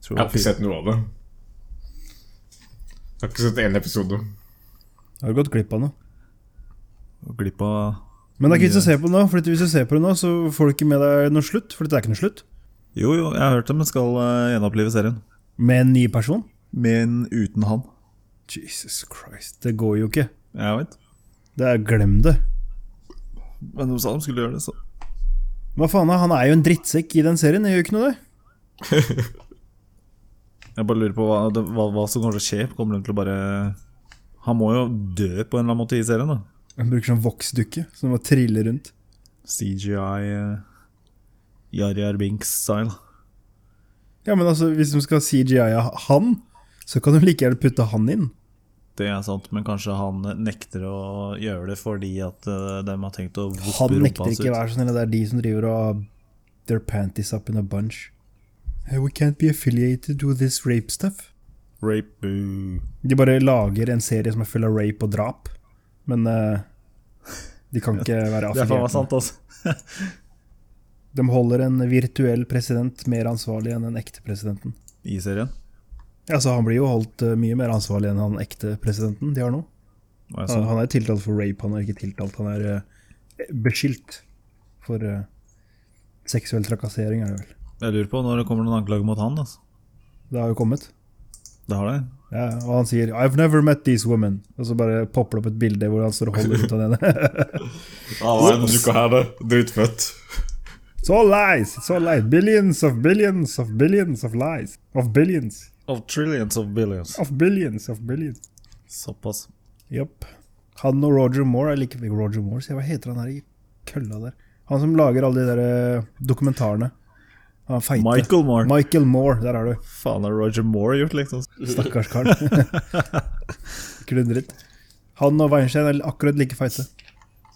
Speaker 1: Tror det
Speaker 3: Jeg har
Speaker 1: var
Speaker 3: ikke
Speaker 1: fire.
Speaker 3: sett noe av det. Jeg har ikke sett én episode.
Speaker 2: Har du gått glipp av noe?
Speaker 1: Og Glipp av
Speaker 2: Men det er ikke vits å se på det nå, for hvis du ser på det nå, så får du ikke med deg noe slutt. For det er ikke noe slutt.
Speaker 1: Jo, jo, jeg har hørt det, men skal eh, gjenopplive serien.
Speaker 2: Med en ny person?
Speaker 1: Men uten han.
Speaker 2: Jesus Christ, det går jo ikke.
Speaker 1: Jeg vet.
Speaker 2: Det er, glem det.
Speaker 1: Men de sa de skulle gjøre det, så
Speaker 2: Hva faen, da? han er jo en drittsekk i den serien, det gjør jo ikke noe det.
Speaker 1: Jeg bare lurer på hva, det, hva, hva som kommer til å skje. Kommer de til å bare Han må jo dø på en eller annen måte i serien, da.
Speaker 2: Han bruker sånn voksdukke som bare triller rundt.
Speaker 1: CGI eh, Jarjar Binks-style.
Speaker 2: Ja, men altså, hvis de skal CGI-a han, så kan du like gjerne putte han inn.
Speaker 1: Det er sant, men kanskje han nekter å gjøre det fordi at eh, de har tenkt å
Speaker 2: Han
Speaker 1: voppe rumpa
Speaker 2: nekter
Speaker 1: hans
Speaker 2: ikke,
Speaker 1: ut.
Speaker 2: vær så snill, det er de som driver og Their panties up in a bunch. Hey, we can't be affiliated with this rape stuff.
Speaker 1: Rape boo.
Speaker 2: De bare lager en serie som er full av rape og drap, men eh, de kan ikke være
Speaker 1: *laughs* Det er faen meg
Speaker 2: affiliert.
Speaker 1: sant, altså.
Speaker 2: De holder en virtuell president mer ansvarlig enn den ekte presidenten.
Speaker 1: I serien.
Speaker 2: Altså, han blir jo holdt eh, mye mer ansvarlig enn han ekte presidenten de har nå.
Speaker 1: Var jeg
Speaker 2: Han,
Speaker 1: sånn?
Speaker 2: han er tiltalt for rape, han er ikke tiltalt. Han er eh, beskyldt for eh, seksuell trakassering, er det vel.
Speaker 1: Jeg lurer på når det kommer noen anklager mot han. altså.
Speaker 2: Det har jo kommet.
Speaker 1: Det har det.
Speaker 2: Ja, og han sier 'I've never met these women', og så bare popper det opp et bilde hvor han står og holder ut av den ene.
Speaker 3: Ja, nei, den uka her, det. Dritfett.
Speaker 2: *laughs* It's all lies! It's all lies! Billions of billions of billions of lies. Of billions.
Speaker 1: Of trillions of billions.
Speaker 2: Of billions of billions.
Speaker 1: Såpass.
Speaker 2: Jopp. Han og Roger Moore er like Roger Moore, sier jeg. Hva heter han her i kølla der? Han som lager alle de der eh, dokumentarene. Han feite.
Speaker 1: Michael Moore.
Speaker 2: Michael Moore, der er du.
Speaker 1: Faen, har Roger Moore gjort, liksom?
Speaker 2: Stakkars
Speaker 1: *laughs*
Speaker 2: karen. Ikke noe dritt. Han og Weinstein er akkurat like feite.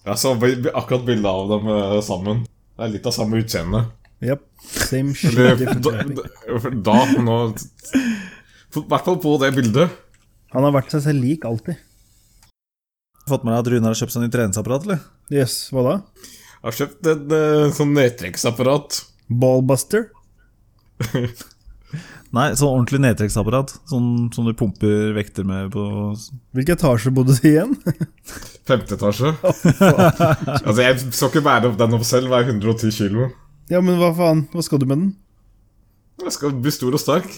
Speaker 3: Jeg så bi- bi- akkurat bilde av dem eh, sammen. Det er litt av samme utseende.
Speaker 2: Yep.
Speaker 1: *laughs*
Speaker 2: Same shit. *laughs*
Speaker 3: Eller,
Speaker 2: different
Speaker 3: da,
Speaker 2: topic.
Speaker 3: da, da nå I hvert fall på det bildet.
Speaker 2: Han har vært seg selv lik alltid.
Speaker 1: Fått med deg at Rune har kjøpt seg ny treningsapparat, eller?
Speaker 2: Jøss, yes, hva da?
Speaker 3: Jeg har kjøpt et eh, sånn nedtrekksapparat.
Speaker 2: Ballbuster?
Speaker 1: Nei, sånn ordentlig nedtrekksapparat. Sånn som du pumper vekter med på
Speaker 2: Hvilken etasje bodde du i igjen? *laughs*
Speaker 3: Femte etasje. altså, jeg skal ikke bære opp den opp selv, være 110 kilo.
Speaker 2: ja, men hva faen? Hva skal du med den?
Speaker 3: Jeg skal bli stor og sterk.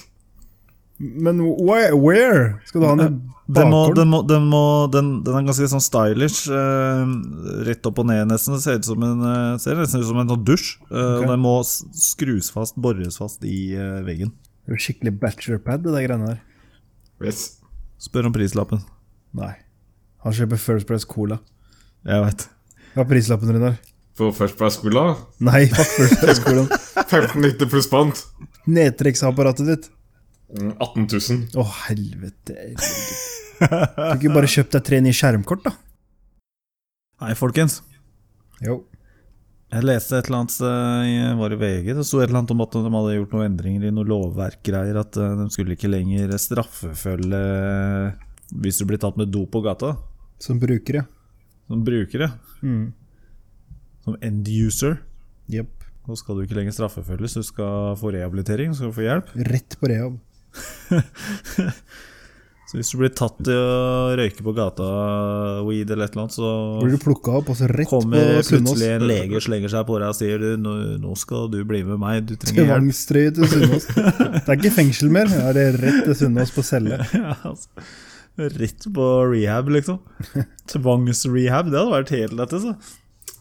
Speaker 2: Men where? where? Skal du ha den i
Speaker 1: Eh, den, må,
Speaker 2: bakgården?
Speaker 1: den, må, den, må, den, den er ganske sånn stylish. eh, rett opp og ned, nesten. Det ser, ut som en, eh, ser nesten ut som en sånn dusj. eh,
Speaker 2: Ok.
Speaker 1: Og den må s- skrus fast, bores fast i eh, veggen.
Speaker 2: Det er jo Skikkelig bachelorpad, det der greiene der.
Speaker 3: Yes.
Speaker 1: Spør om prislappen.
Speaker 2: Nei. Han kjøper First Price Cola.
Speaker 1: Jeg veit.
Speaker 2: Hva er prislappen din der?
Speaker 3: På First Price Cola.
Speaker 2: Nei, fuck First Price Cola.
Speaker 3: 1590 pluss pant.
Speaker 2: Nedtrekksapparatet ditt.
Speaker 3: Mm, 18 000.
Speaker 2: Å, helvete. helvete. Kan ikke bare kjøpt deg tre nye skjermkort, da?
Speaker 1: Hei, folkens.
Speaker 2: Jo.
Speaker 1: Jeg leste et eller annet eh, i- var i VG, det sto et eller annet om at de hadde gjort noen endringer i noen lovverkgreier, at eh, de skulle ikke lenger straffefølge eh, hvis du blir tatt med dop på gata,
Speaker 2: Som bruker, ja.
Speaker 1: som brukere,
Speaker 2: Mm.
Speaker 1: som end user.
Speaker 2: Jepp.
Speaker 1: Nå skal du ikke lenger straffefølges, du skal få rehabilitering, du skal få hjelp.
Speaker 2: Rett på rehab.
Speaker 1: Så hvis du blir tatt i å røyke på gata weed eller et eller annet,
Speaker 2: Blir
Speaker 1: så
Speaker 2: du plukka opp og så rett
Speaker 1: kommer
Speaker 2: på Sunnaas?
Speaker 1: plutselig en lege og slenger seg på deg og sier du, nå, nå skal du bli med meg, du
Speaker 2: *laughs*
Speaker 1: trenger hjelp.
Speaker 2: Tvangstrøye til Sunnaas. Det er ikke fengsel mer, ja, det er rett til Sunnaas på celle.
Speaker 1: *laughs* Ja, altså. Rett på rehab,
Speaker 3: *laughs*
Speaker 1: liksom. Tvangsrehab, det hadde vært helt lett. Altså.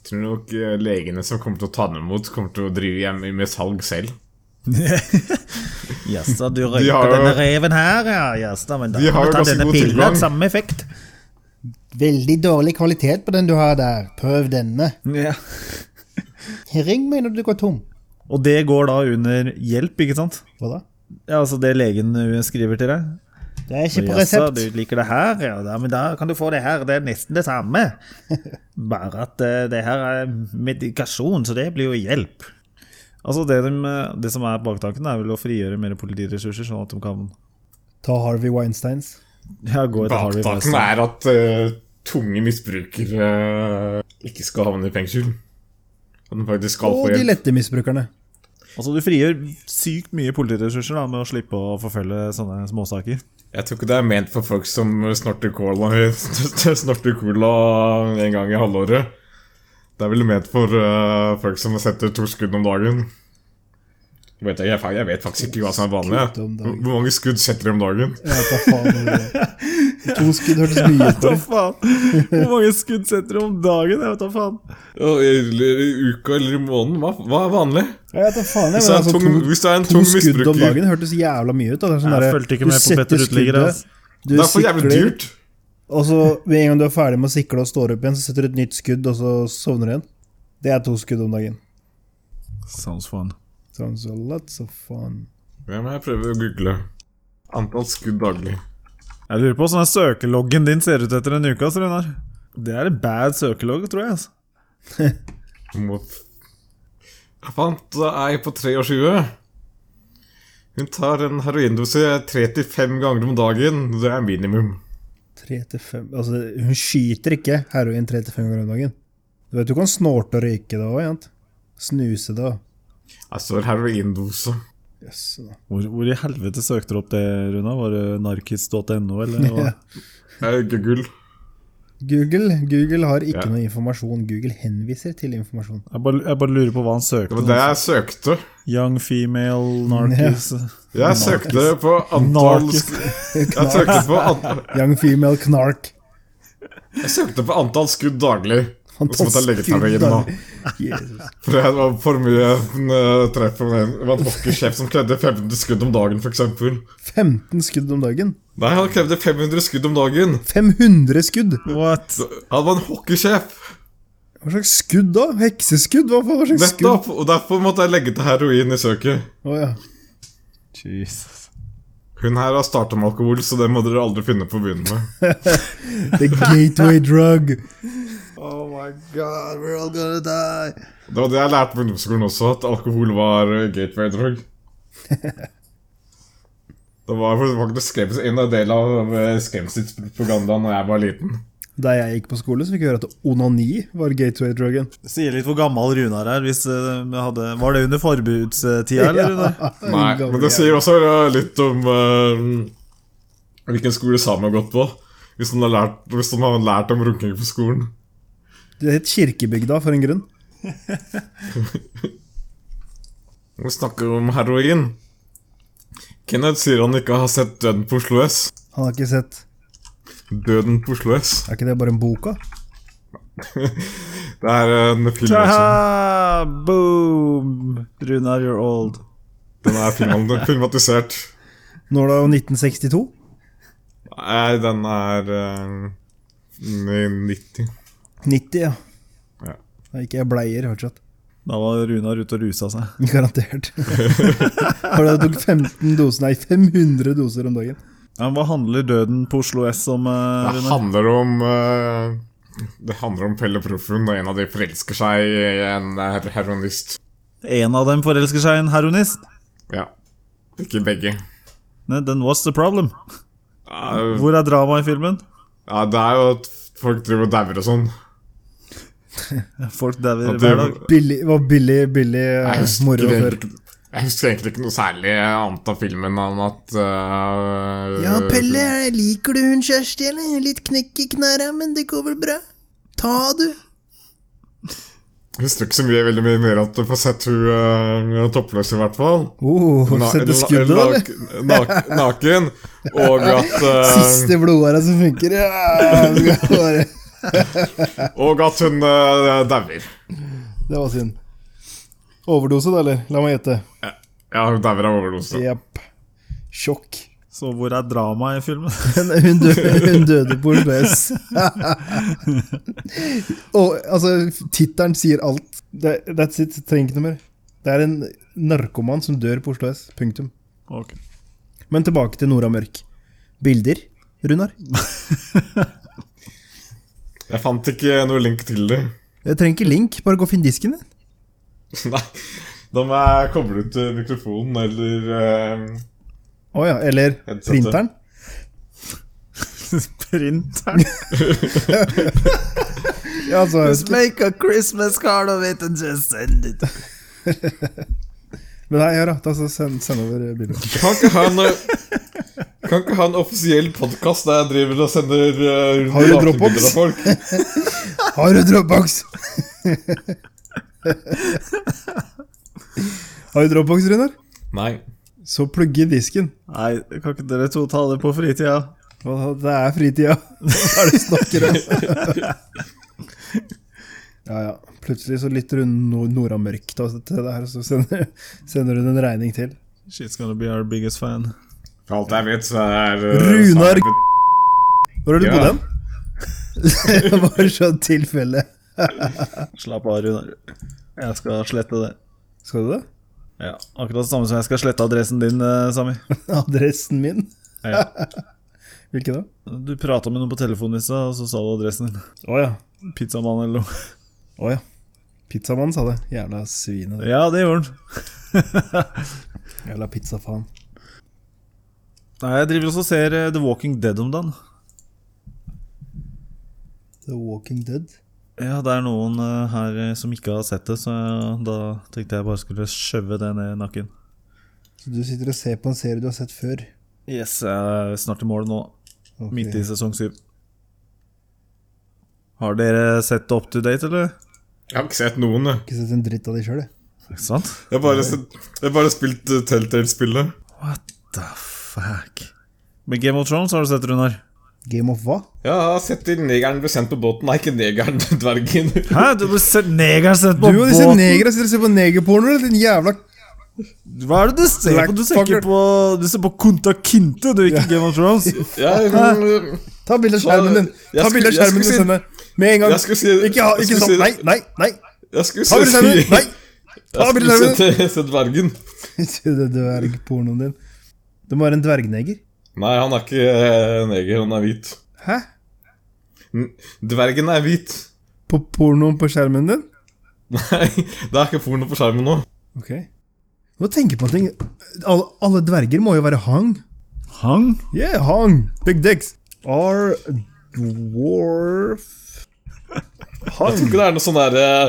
Speaker 3: Tror du nok eh, legene som kommer til å ta den imot, kommer til å drive hjem med salg selv.
Speaker 1: Jaså, du
Speaker 3: De
Speaker 1: røyker
Speaker 3: har jo-
Speaker 1: denne reven her, ja. Jaså, men da
Speaker 3: De har
Speaker 1: kan du
Speaker 3: jo
Speaker 1: ta
Speaker 3: ganske
Speaker 1: denne
Speaker 3: god
Speaker 1: pillen.
Speaker 3: tilgang.
Speaker 1: Samme effekt.
Speaker 5: Veldig dårlig kvalitet på den du har der. Prøv denne.
Speaker 1: Ja.
Speaker 5: Ring meg når du går tom.
Speaker 1: Og det går da under hjelp, ikke sant?
Speaker 5: Hva da?
Speaker 1: Ja, altså det legen skriver til deg.
Speaker 5: Det er ikke på
Speaker 1: Jaså,
Speaker 5: resept.
Speaker 1: du liker det her, ja, da, men da kan du få det her. Det er nesten det samme.
Speaker 5: *laughs*
Speaker 1: Bare at eh, det her er medikasjon, så det blir jo hjelp. Altså det, de, det som er baktanken, er vel å frigjøre mer politiressurser, sånn at de kan
Speaker 2: Ta Harvey Weinsteins.
Speaker 1: ja, gå etter Harvey
Speaker 3: Baktanken
Speaker 1: Weinstein.
Speaker 3: er at eh, tunge misbrukere eh, ikke skal havne i fengsel. At de faktisk skal
Speaker 2: Og
Speaker 3: få
Speaker 2: de
Speaker 3: hjelp.
Speaker 2: lette misbrukerne.
Speaker 1: Altså Du frigjør sykt mye politiressurser da, med å slippe å forfølge sånne småsaker.
Speaker 3: Jeg tror ikke det er ment for folk som snorter cola, *laughs* snorter cola en gang i halvåret. Det er vel ment for eh, folk som setter to skudd om dagen. Jeg vet, jeg, jeg vet faktisk ikke hva som er vanlig. jeg.
Speaker 2: Skudd om dagen.
Speaker 3: Hvor mange skudd setter de om dagen?
Speaker 2: Jeg vet da faen hva det *laughs* er. To skudd hørtes mye ut.
Speaker 1: Hva faen?
Speaker 5: *laughs*
Speaker 1: Hvor mange skudd setter du om dagen? Jeg vet da faen.
Speaker 3: Eller i uka eller i måneden? Hva, hva er vanlig?
Speaker 2: Jeg vet da faen, jeg, men
Speaker 3: Hvis det er
Speaker 2: altså,
Speaker 3: en tung,
Speaker 2: to,
Speaker 3: hvis det er en
Speaker 2: to
Speaker 3: tung
Speaker 2: skudd om
Speaker 3: misbruker
Speaker 2: dagen hørtes jævla mye ut. Da. Det er sånn
Speaker 1: Jeg
Speaker 2: derre,
Speaker 1: fulgte ikke
Speaker 2: du
Speaker 1: med på
Speaker 2: setter
Speaker 1: Petter Uteliggere,
Speaker 2: skuddet,
Speaker 1: ass.
Speaker 2: Du
Speaker 3: Det er for jævlig
Speaker 2: sikler,
Speaker 3: dyrt.
Speaker 2: og så med en gang du er ferdig med å sikle og står opp igjen, så setter du et nytt skudd, og så sovner du igjen. Det er to skudd om dagen.
Speaker 1: Sounds fun.
Speaker 2: Sånn, så lots of fun.
Speaker 3: Ja, men jeg prøver å google. Antall skudd daglig.
Speaker 1: Jeg lurer på hvordan søkeloggen din ser ut etter en uke. ass, Runar. Det er en bad søkelogg, tror jeg. altså. ass.
Speaker 3: Mot Jeg fant ei på 23. Hun tar en heroindose tre til fem ganger om dagen. Det er minimum.
Speaker 2: Tre til fem Altså, hun skyter ikke heroin tre til fem ganger om dagen. Du vet du kan snorte og røyke det òg, jent. Snuse det òg.
Speaker 3: Jeg står heroindose.
Speaker 2: Jøss. da.
Speaker 1: Hvor, hvor i helvete søkte du opp det, Runa? Var det narkis.no, eller? *laughs* hva?
Speaker 2: Ja.
Speaker 3: Det er ikke gull.
Speaker 2: Google, Google har ikke
Speaker 3: Ja.
Speaker 2: noe informasjon. Google henviser til informasjon.
Speaker 1: Jeg, bare, jeg bare lurer på hva han
Speaker 3: Det
Speaker 1: søkte.
Speaker 3: var det jeg søkte.
Speaker 1: Young female narkis.
Speaker 3: Jeg søkte på antall
Speaker 1: Narkis.
Speaker 3: sk- Jeg søkte på, an
Speaker 2: Young female knark.
Speaker 3: jeg søkte på antall skudd daglig. Og så måtte jeg legge til
Speaker 2: Fantastisk.
Speaker 3: heroin nå.
Speaker 2: *laughs* Jesus.
Speaker 3: For det var for mye eh, treff på meg. Det var en hockeychef som krevde 500 skudd om dagen, f.eks.
Speaker 2: 15 skudd om dagen.
Speaker 3: Nei, han krevde 500 skudd om dagen.
Speaker 2: 500 skudd!
Speaker 1: *laughs* What?
Speaker 3: Han var en hockeysjef!
Speaker 2: Hva slags skudd da? Hekseskudd? Hva, hva slags skudd?
Speaker 3: Nettopp! Og derfor måtte jeg legge til heroin i søket.
Speaker 2: Å ja.
Speaker 1: Jesus.
Speaker 3: Hun her har starta med alkohol, så det må dere aldri finne på å begynne med.
Speaker 2: The gateway drug.
Speaker 3: Oh my god, we're all gonna die Det var det jeg lærte på ungdomsskolen også, at alkohol var eh, gateway drug. *laughs* Det var faktisk skrevet inn en del av eh, skremselspropagandaen da jeg var liten.
Speaker 2: Da jeg gikk på skole, så fikk jeg høre at onani var gateway drugen.
Speaker 1: Sier litt hvor gammel Runar er. Hvis eh, vi hadde, var det under forbudstida, *laughs* eller?
Speaker 2: *laughs*
Speaker 1: Runar?
Speaker 3: Nei, men det sier også eh, litt om eh, hvilken skole Sam har gått på. Hvis han har lært, hvis han har lært om runking på skolen.
Speaker 2: Det het Kirkebygda for en grunn.
Speaker 3: Vi snakker om heroin. Kenneth sier han ikke har sett Døden på Oslo S.
Speaker 2: Han har ikke sett
Speaker 3: Døden på Oslo S.
Speaker 2: Er ikke det bare en bok, da?
Speaker 3: Det er en film også.
Speaker 1: Ta-ha! Boom! Runar, you're old.
Speaker 3: Den er film- filmatisert.
Speaker 2: Nå er det jo 1962.
Speaker 3: Nei, den er eh, 90.
Speaker 2: 90, ja.
Speaker 3: Ja.
Speaker 2: Da gikk jeg bleier fortsatt.
Speaker 1: Da var Runar ute og rusa seg.
Speaker 2: *laughs* Garantert. For det tok 15 doser, nei, 500 doser om dagen.
Speaker 1: Ja, hva handler døden på Oslo S om, eh,
Speaker 3: Det
Speaker 1: Runar?
Speaker 3: handler om eh, Det handler om Pelle Proffen, og en av de forelsker seg i en eh, heroinist.
Speaker 1: En av dem forelsker seg i en heroinist.
Speaker 3: Ja. Ikke begge.
Speaker 1: Nei, Then what's the problem?
Speaker 3: Ja,
Speaker 1: Hvor er dramaet i filmen?
Speaker 3: Ja, det er jo at folk driver og dauer og sånn.
Speaker 1: Folk dauer
Speaker 3: At
Speaker 1: hver
Speaker 3: det-
Speaker 1: dag.
Speaker 2: Billig, var billig, billig eh,
Speaker 3: Jeg husker
Speaker 2: moro
Speaker 3: det
Speaker 2: før.
Speaker 3: ikke. Jeg husker egentlig ikke noe særlig annet av filmen enn at øh,
Speaker 2: liker du hun Kjersti, eller? Litt knekk i knærne, men det går vel bra? Ta, du.
Speaker 3: Jeg husker ikke så mye veldig mye mer at du får sett hun øh, toppløs, i hvert fall.
Speaker 6: Oh,
Speaker 3: Na-
Speaker 6: Sette
Speaker 3: na-
Speaker 6: skuddet, da, eller?
Speaker 3: nak- nak- Naken. Og at, øh,
Speaker 2: Siste blodåra som funker. Ja, det var bare-
Speaker 3: og at hun øh, dauer.
Speaker 2: det var synd. Overdose, da, eller? La meg gjette.
Speaker 3: Ja, hun dauer av overdose.
Speaker 2: Jepp. Sjokk.
Speaker 1: Så hvor er dramaet i filmen? *laughs*
Speaker 2: Men hun, døde, hun døde på OBS. Og altså, tittelen sier alt. Det- That's it. Trenger ikke noe mer. Det er en narkoman som dør på Oslo S. Punktum.
Speaker 1: Ok.
Speaker 2: Men tilbake til Nora Mørk. Bilder, Runar?
Speaker 3: Jeg fant ikke noe link til det. *laughs*
Speaker 2: Jeg trenger ikke link, bare gå og finn disken din.
Speaker 3: Nei, da må jeg koble ut øh, mikrofonen eller øh,
Speaker 2: Å ja, eller
Speaker 3: Headsetet.
Speaker 2: printeren.
Speaker 1: Printeren.
Speaker 2: Ja, altså,
Speaker 1: make a Christmas card of it and just send it.
Speaker 2: men nei, gjør det. Altså, send, send over bildet.
Speaker 3: Kan ikke ha en øh, Kan ikke ha en offisiell podkast der jeg driver og sender øh, rundt
Speaker 2: Har du
Speaker 3: nakenbilder
Speaker 2: Dropbox?
Speaker 3: av folk?
Speaker 2: Har du Dropbox? *laughs* Har du Dropbox, Runar?
Speaker 3: Nei.
Speaker 2: Så plugge disken.
Speaker 1: Nei, kan ikke dere to ta det på fritida?
Speaker 2: Hva- Det er fritida. *laughs* Hva er det du snakker om? ja, ja. Plutselig så lytter hun no Nora Mørk da, til det her, og så sender, sender hun en regning til.
Speaker 1: She's gonna be our biggest fan.
Speaker 3: For alt jeg vet, så er øh,
Speaker 2: Runar-
Speaker 3: saken-
Speaker 2: Hvor har du
Speaker 3: Ja.
Speaker 2: bodd hen? *laughs* Bare sånn tilfelle.
Speaker 1: Slapp av, Runar. Jeg skal slette det.
Speaker 2: Skal du det?
Speaker 1: Ja, Akkurat det samme som jeg skal slette adressen din, eh, Sami.
Speaker 2: Adressen min?
Speaker 1: Ja.
Speaker 2: Hvilken da?
Speaker 1: Du prata med noen på telefonen i stad, og så sa du adressen din.
Speaker 2: Å ja.
Speaker 1: Pizzamann eller noe.
Speaker 2: Å ja. Pizzamannen sa det. Jævla svinet.
Speaker 1: Ja, det gjorde han.
Speaker 2: Jævla pizzafaen.
Speaker 1: Nei, Jeg driver også og ser eh, The Walking Dead om dagen.
Speaker 2: The Walking Dead.
Speaker 1: Ja, det er noen eh, her eh, som ikke har sett det, så da tenkte jeg bare skulle skjøve det ned i nakken.
Speaker 2: Så du sitter og ser på en serie du har sett før?
Speaker 1: Yes, jeg er snart i mål nå.
Speaker 2: Ok.
Speaker 1: Midt i sesong syv. Har dere sett det up to date, eller?
Speaker 3: Jeg har ikke sett noen, jeg.
Speaker 2: Ikke sett en dritt av de sjøl, jeg.
Speaker 1: Ikke sant?
Speaker 3: Jeg har bare, sett- jeg har bare spilt uh, Telltale-spillet.
Speaker 1: What the fuck? Men Game of Thrones har du sett, Runar?
Speaker 2: Game of hva?
Speaker 3: Ja, jeg har sett til negeren ble sendt på båten. Nei, ikke negeren, *laughs* dvergen.
Speaker 1: Hæ? Du har sett negeren sett på
Speaker 2: Du og disse
Speaker 1: båten?
Speaker 2: negere sitter og ser på negerporno, eller? Din jævla
Speaker 1: Hva er det du ser på? Du ser ikke
Speaker 2: Blackfucker.
Speaker 1: på Du ser på Kunta Kinte, du, ikke Game of *laughs* Thrones.
Speaker 3: Ja, mm,
Speaker 2: Ta bilde av skjermen din!
Speaker 3: Jeg
Speaker 2: Ta
Speaker 3: skulle-
Speaker 2: bilde av
Speaker 3: jeg
Speaker 2: skjermen din
Speaker 3: skulle si-
Speaker 2: sende. Med en gang.
Speaker 3: jeg skulle si
Speaker 2: Ikke, ha,
Speaker 3: jeg
Speaker 2: ikke
Speaker 3: skulle
Speaker 2: sånn.
Speaker 3: si-
Speaker 2: Nei, nei, nei!
Speaker 3: Jeg skulle
Speaker 2: Ta bilde av skjermen!
Speaker 3: si
Speaker 2: Nei! *laughs*
Speaker 3: *laughs*
Speaker 2: Ta
Speaker 3: Jeg
Speaker 2: bilde av
Speaker 3: skulle
Speaker 2: skjermen!
Speaker 3: sett, sett *laughs* dvergen.
Speaker 2: Se det dvergpornoen din. Det må være en dvergneger.
Speaker 3: Nei, han er ikke eh, neger, han er hvit.
Speaker 2: Hæ?
Speaker 3: N- Dvergen er hvit. *laughs*
Speaker 2: På pornoen på skjermen din?
Speaker 3: Nei, det er ikke porno på skjermen nå.
Speaker 2: Ok. Nå tenker jeg på en ting. Alle, alle dverger må jo være hang.
Speaker 1: Han?
Speaker 2: Yeah, hang. Big dicks. Are dwarf
Speaker 3: Jeg tror ikke det er noe sånn der eh,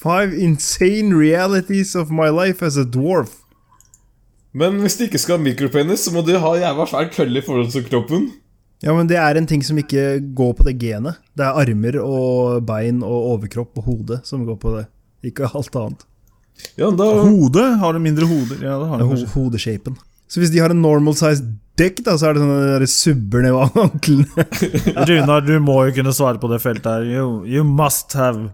Speaker 2: Five insane realities of my life as a dwarf.
Speaker 3: Men hvis de ikke skal ha mikropenis, så må de ha jævla svær kølle i forhold til kroppen.
Speaker 2: Ja, men det er en ting som ikke går på det genet. Det er armer og bein og overkropp og hode som går på det. Ikke alt annet.
Speaker 3: Ja, men da
Speaker 1: Hode? Har du mindre hoder? Ja,
Speaker 3: Oh.
Speaker 1: det har du
Speaker 2: Ho
Speaker 1: kanskje.
Speaker 2: Hodeshapen. Så hvis de har en normal size dick, da, så er det sånn at det subber ned av
Speaker 3: *laughs*
Speaker 2: anklene.
Speaker 1: Runar, du må jo kunne svare på det feltet her. You, you must have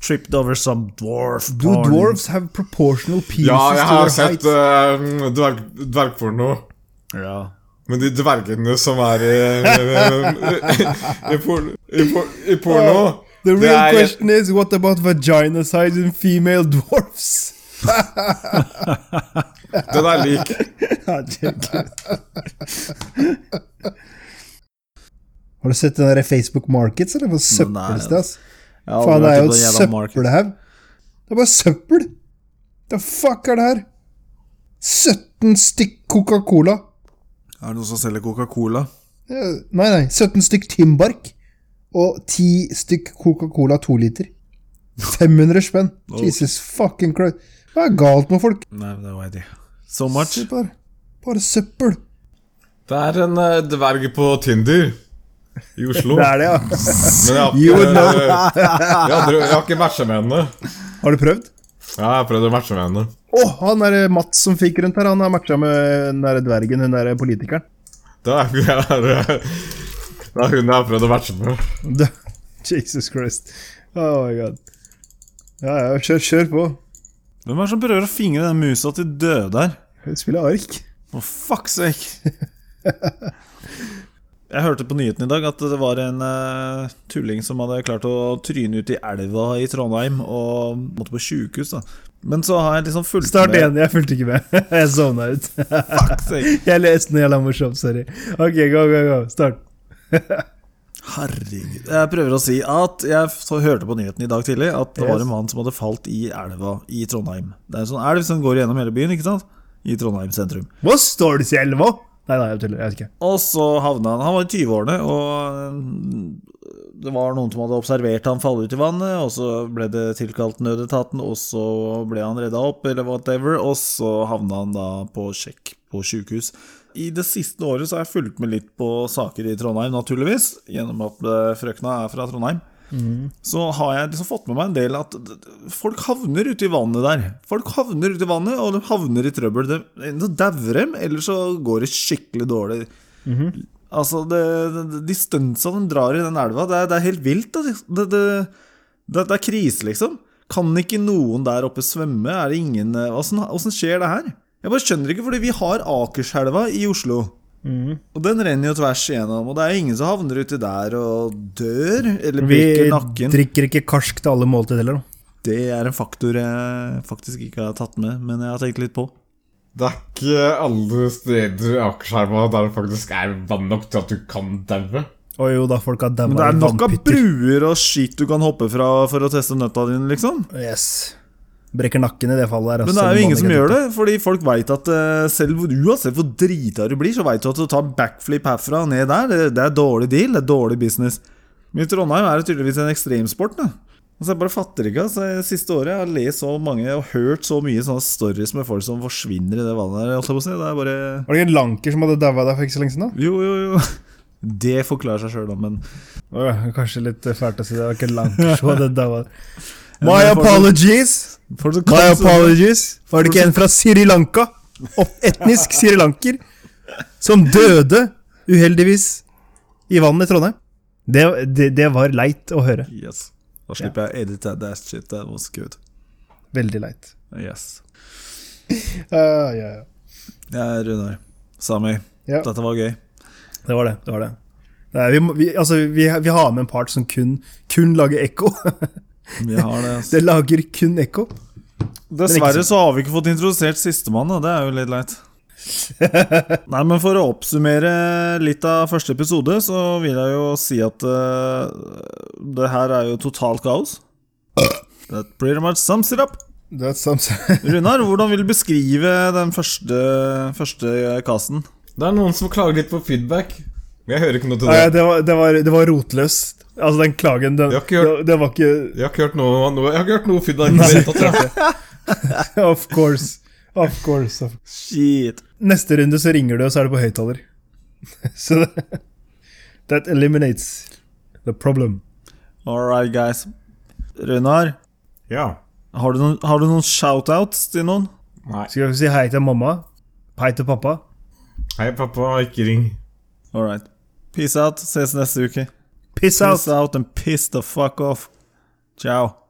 Speaker 1: tripped over some dwarf.
Speaker 2: Do
Speaker 1: porn.
Speaker 2: dwarfs have proportional penises
Speaker 3: Ja, jeg
Speaker 2: to
Speaker 3: har
Speaker 2: their
Speaker 3: sett
Speaker 2: height?
Speaker 3: eh, dverg, dvergporno.
Speaker 1: Ja.
Speaker 3: Men de dvergene som er i, *laughs* i, por- i, por- i porno
Speaker 2: The
Speaker 3: det
Speaker 2: real
Speaker 3: er-
Speaker 2: question is, what about vagina size in female dwarfs? *laughs*
Speaker 3: Den er lik. *laughs*
Speaker 2: Har du sett den der Facebook Markets, eller? Hva søppelsted,
Speaker 1: Nei.
Speaker 2: ass?
Speaker 1: Jeg har
Speaker 2: Faen,
Speaker 1: aldri
Speaker 2: det er
Speaker 1: vært i
Speaker 2: jo et
Speaker 1: det jævla market.
Speaker 2: søppelhaug. Det er bare søppel. The fuck er det her? 17 stykk Coca-Cola.
Speaker 1: Er det noen som selger Coca-Cola?
Speaker 2: Eh, Nei, nei. 17 stykk Timbark. Og 10 stykk Coca-Cola 2 liter. 500 spenn. Jesus fucking Christ. Hva er galt med folk?
Speaker 1: Nei, men det var jeg ikke. So much.
Speaker 2: Se på her. Bare søppel.
Speaker 3: Det er en eh, dverg på Tinder i Oslo.
Speaker 2: Det er det, ja.
Speaker 3: Men jeg har ikke, *laughs* jeg har, aldri- jeg har ikke matcha med henne.
Speaker 2: Har du prøvd?
Speaker 3: Ja, jeg har prøvd å matche med henne.
Speaker 2: Å, han der Mats som fikk rundt her, han har matcha med den der dvergen, den der politikeren.
Speaker 3: Det er, *laughs* det er, det er hun jeg har prøvd å matche med.
Speaker 2: Da- *laughs* Jesus Christ. Oh my god. Ja, ja, kjør, kjør på.
Speaker 1: Hvem er det som prøver å fingre den musa til døde her?
Speaker 2: Hun spiller ark.
Speaker 1: For fuck's
Speaker 2: *laughs*
Speaker 1: sake! Jeg hørte på nyheten i dag at det var en eh, tulling som hadde klart å tryne ut i elva i Trondheim og måtte på sjukehus. da. Men så har jeg liksom fulgt
Speaker 2: Start
Speaker 1: med
Speaker 2: igjen, jeg fulgte ikke med. *laughs* Jeg sovna ut. *laughs*
Speaker 1: Fuck's sake.
Speaker 2: Jeg leste noe jævla morsomt, sorry. Ok, go, go, go. Start.
Speaker 1: Herregud. Jeg prøver å si at jeg så hørte på nyheten i dag tidlig at det var en mann som hadde falt i elva i Trondheim. Det er en sånn elv som går gjennom hele byen, ikke sant? I Trondheim sentrum.
Speaker 2: Hva står det i elva? Nei, nei, jeg tuller. Jeg vet ikke.
Speaker 1: Og så havna han Han var i 20-årene, og mm, det var noen som hadde observert han falle ut i vannet, og så ble det tilkalt nødetaten, og så ble han redda opp, eller whatever, og så havna han da på sjekk på sjukehus. I det siste året så har jeg fulgt med litt på saker i Trondheim, naturligvis, gjennom at eh, frøkna er fra Trondheim. Så har jeg liksom fått med meg en del at d- d- folk havner ute i vannet der. Folk havner ute i vannet, og de havner i trøbbel. De- Enten så dauer dem, eller så går det skikkelig dårlig. Altså, det, det, de stunsa de drar i den elva, det er, det er helt vilt. da. Det, det, det, det er krise, liksom. Kan ikke noen der oppe svømme? Er det ingen eh, Åssen åssen skjer det her? Jeg bare skjønner ikke, fordi vi har Akerselva i Oslo.
Speaker 2: Mm.
Speaker 1: Og den renner jo tvers igjennom, og det er ingen som havner uti der og dør eller
Speaker 2: Vi
Speaker 1: bryter nakken.
Speaker 2: drikker ikke karsk til alle måltid heller, da.
Speaker 1: Det er en faktor jeg faktisk ikke har tatt med, men jeg har tenkt litt på.
Speaker 3: Det er ikke alle steder i Akerselva der det faktisk er vann nok til at du kan daue.
Speaker 2: Å jo da, folk har
Speaker 1: Men det
Speaker 2: daua
Speaker 1: er
Speaker 2: i
Speaker 1: nok av
Speaker 2: vannpytter.
Speaker 1: bruer og skit du kan hoppe fra for å teste nøtta dine, liksom.
Speaker 2: Yes. Brekker nakken i det fallet altså. der.
Speaker 1: Men det er jo ingen som gjør det, fordi folk veit at eh, selv hvor- uansett hvor drita du blir, så veit du at å ta backflip herfra og ned der, det, det er dårlig deal, det er dårlig business. Men i Trondheim er det tydeligvis en ekstremsport, da. Altså, jeg bare fatter ikke. Altså, det siste året jeg har lest så mange og hørt så mye sånne stories med folk som forsvinner i det vannet der. holdt jeg på å si. Det er bare
Speaker 2: Var det ikke en lanker som hadde daua der for ikke så lenge siden? da?
Speaker 1: Jo, jo, jo. *laughs* Det forklarer seg sjøl, da, men
Speaker 2: Åh, kanskje litt eh, fælt å si det. Det var ikke en lanker som hadde daua. *laughs* My
Speaker 1: Men folk-
Speaker 2: apologies!
Speaker 1: folk som
Speaker 2: My
Speaker 1: kan svømme-
Speaker 2: apologies. Var det ikke en fra Sri Lanka? Opp- Etnisk Sri Lanker. Som døde, uheldigvis, i vannet i Trondheim. Det, det, det var leit å høre.
Speaker 1: Yes. Da slipper jeg å edite that shit. That was good.
Speaker 2: Veldig leit.
Speaker 1: Yes.
Speaker 2: Ja, ja, ja.
Speaker 1: Ja, Runar. Sami.
Speaker 2: Ja.
Speaker 1: Dette var gøy.
Speaker 2: Det var det. det, var det. Nei, vi, må- vi, altså, vi, vi har med en part som kun, kun lager ekko. *laughs*
Speaker 1: Vi har det. ass.
Speaker 2: det lager kun ekko.
Speaker 1: Dessverre så har vi ikke fått introdusert sistemann, da. Det er jo litt leit. *laughs* Nei, men for å oppsummere litt av første episode, så vil jeg jo si at eh, det her er jo totalt kaos. That pretty much sums it up.
Speaker 2: That sums *laughs*
Speaker 1: Runar, hvordan vil du beskrive den første, første casten?
Speaker 3: Det er noen som klager litt på feedback. Men jeg hører ikke noe til
Speaker 2: Nei,
Speaker 3: det.
Speaker 2: det, var, det, var, det var rotløst. Altså, den klagen, den,
Speaker 3: Jeg har ikke hørt-
Speaker 2: det, det var ikke
Speaker 3: Jeg har ikke hørt noe, noe, jeg har ikke hørt noe feedback. i det hele tatt, jeg.
Speaker 2: Of course. Of course. Of.
Speaker 1: Shit.
Speaker 2: Neste runde så ringer du, og så er det på høyttaler. *laughs* så det, That eliminates the problem.
Speaker 1: All right, guys. Runar,
Speaker 3: *laughs* Ja.
Speaker 1: har du noen, har du noen shoutouts til noen?
Speaker 3: Nei.
Speaker 2: Skal vi si hei til mamma? Hei til pappa?
Speaker 3: Hei, pappa. Ikke ring.
Speaker 1: All right. Peace out. Ses neste uke.
Speaker 2: Piss out!
Speaker 1: Peace out and piss the fuck off. Ciao.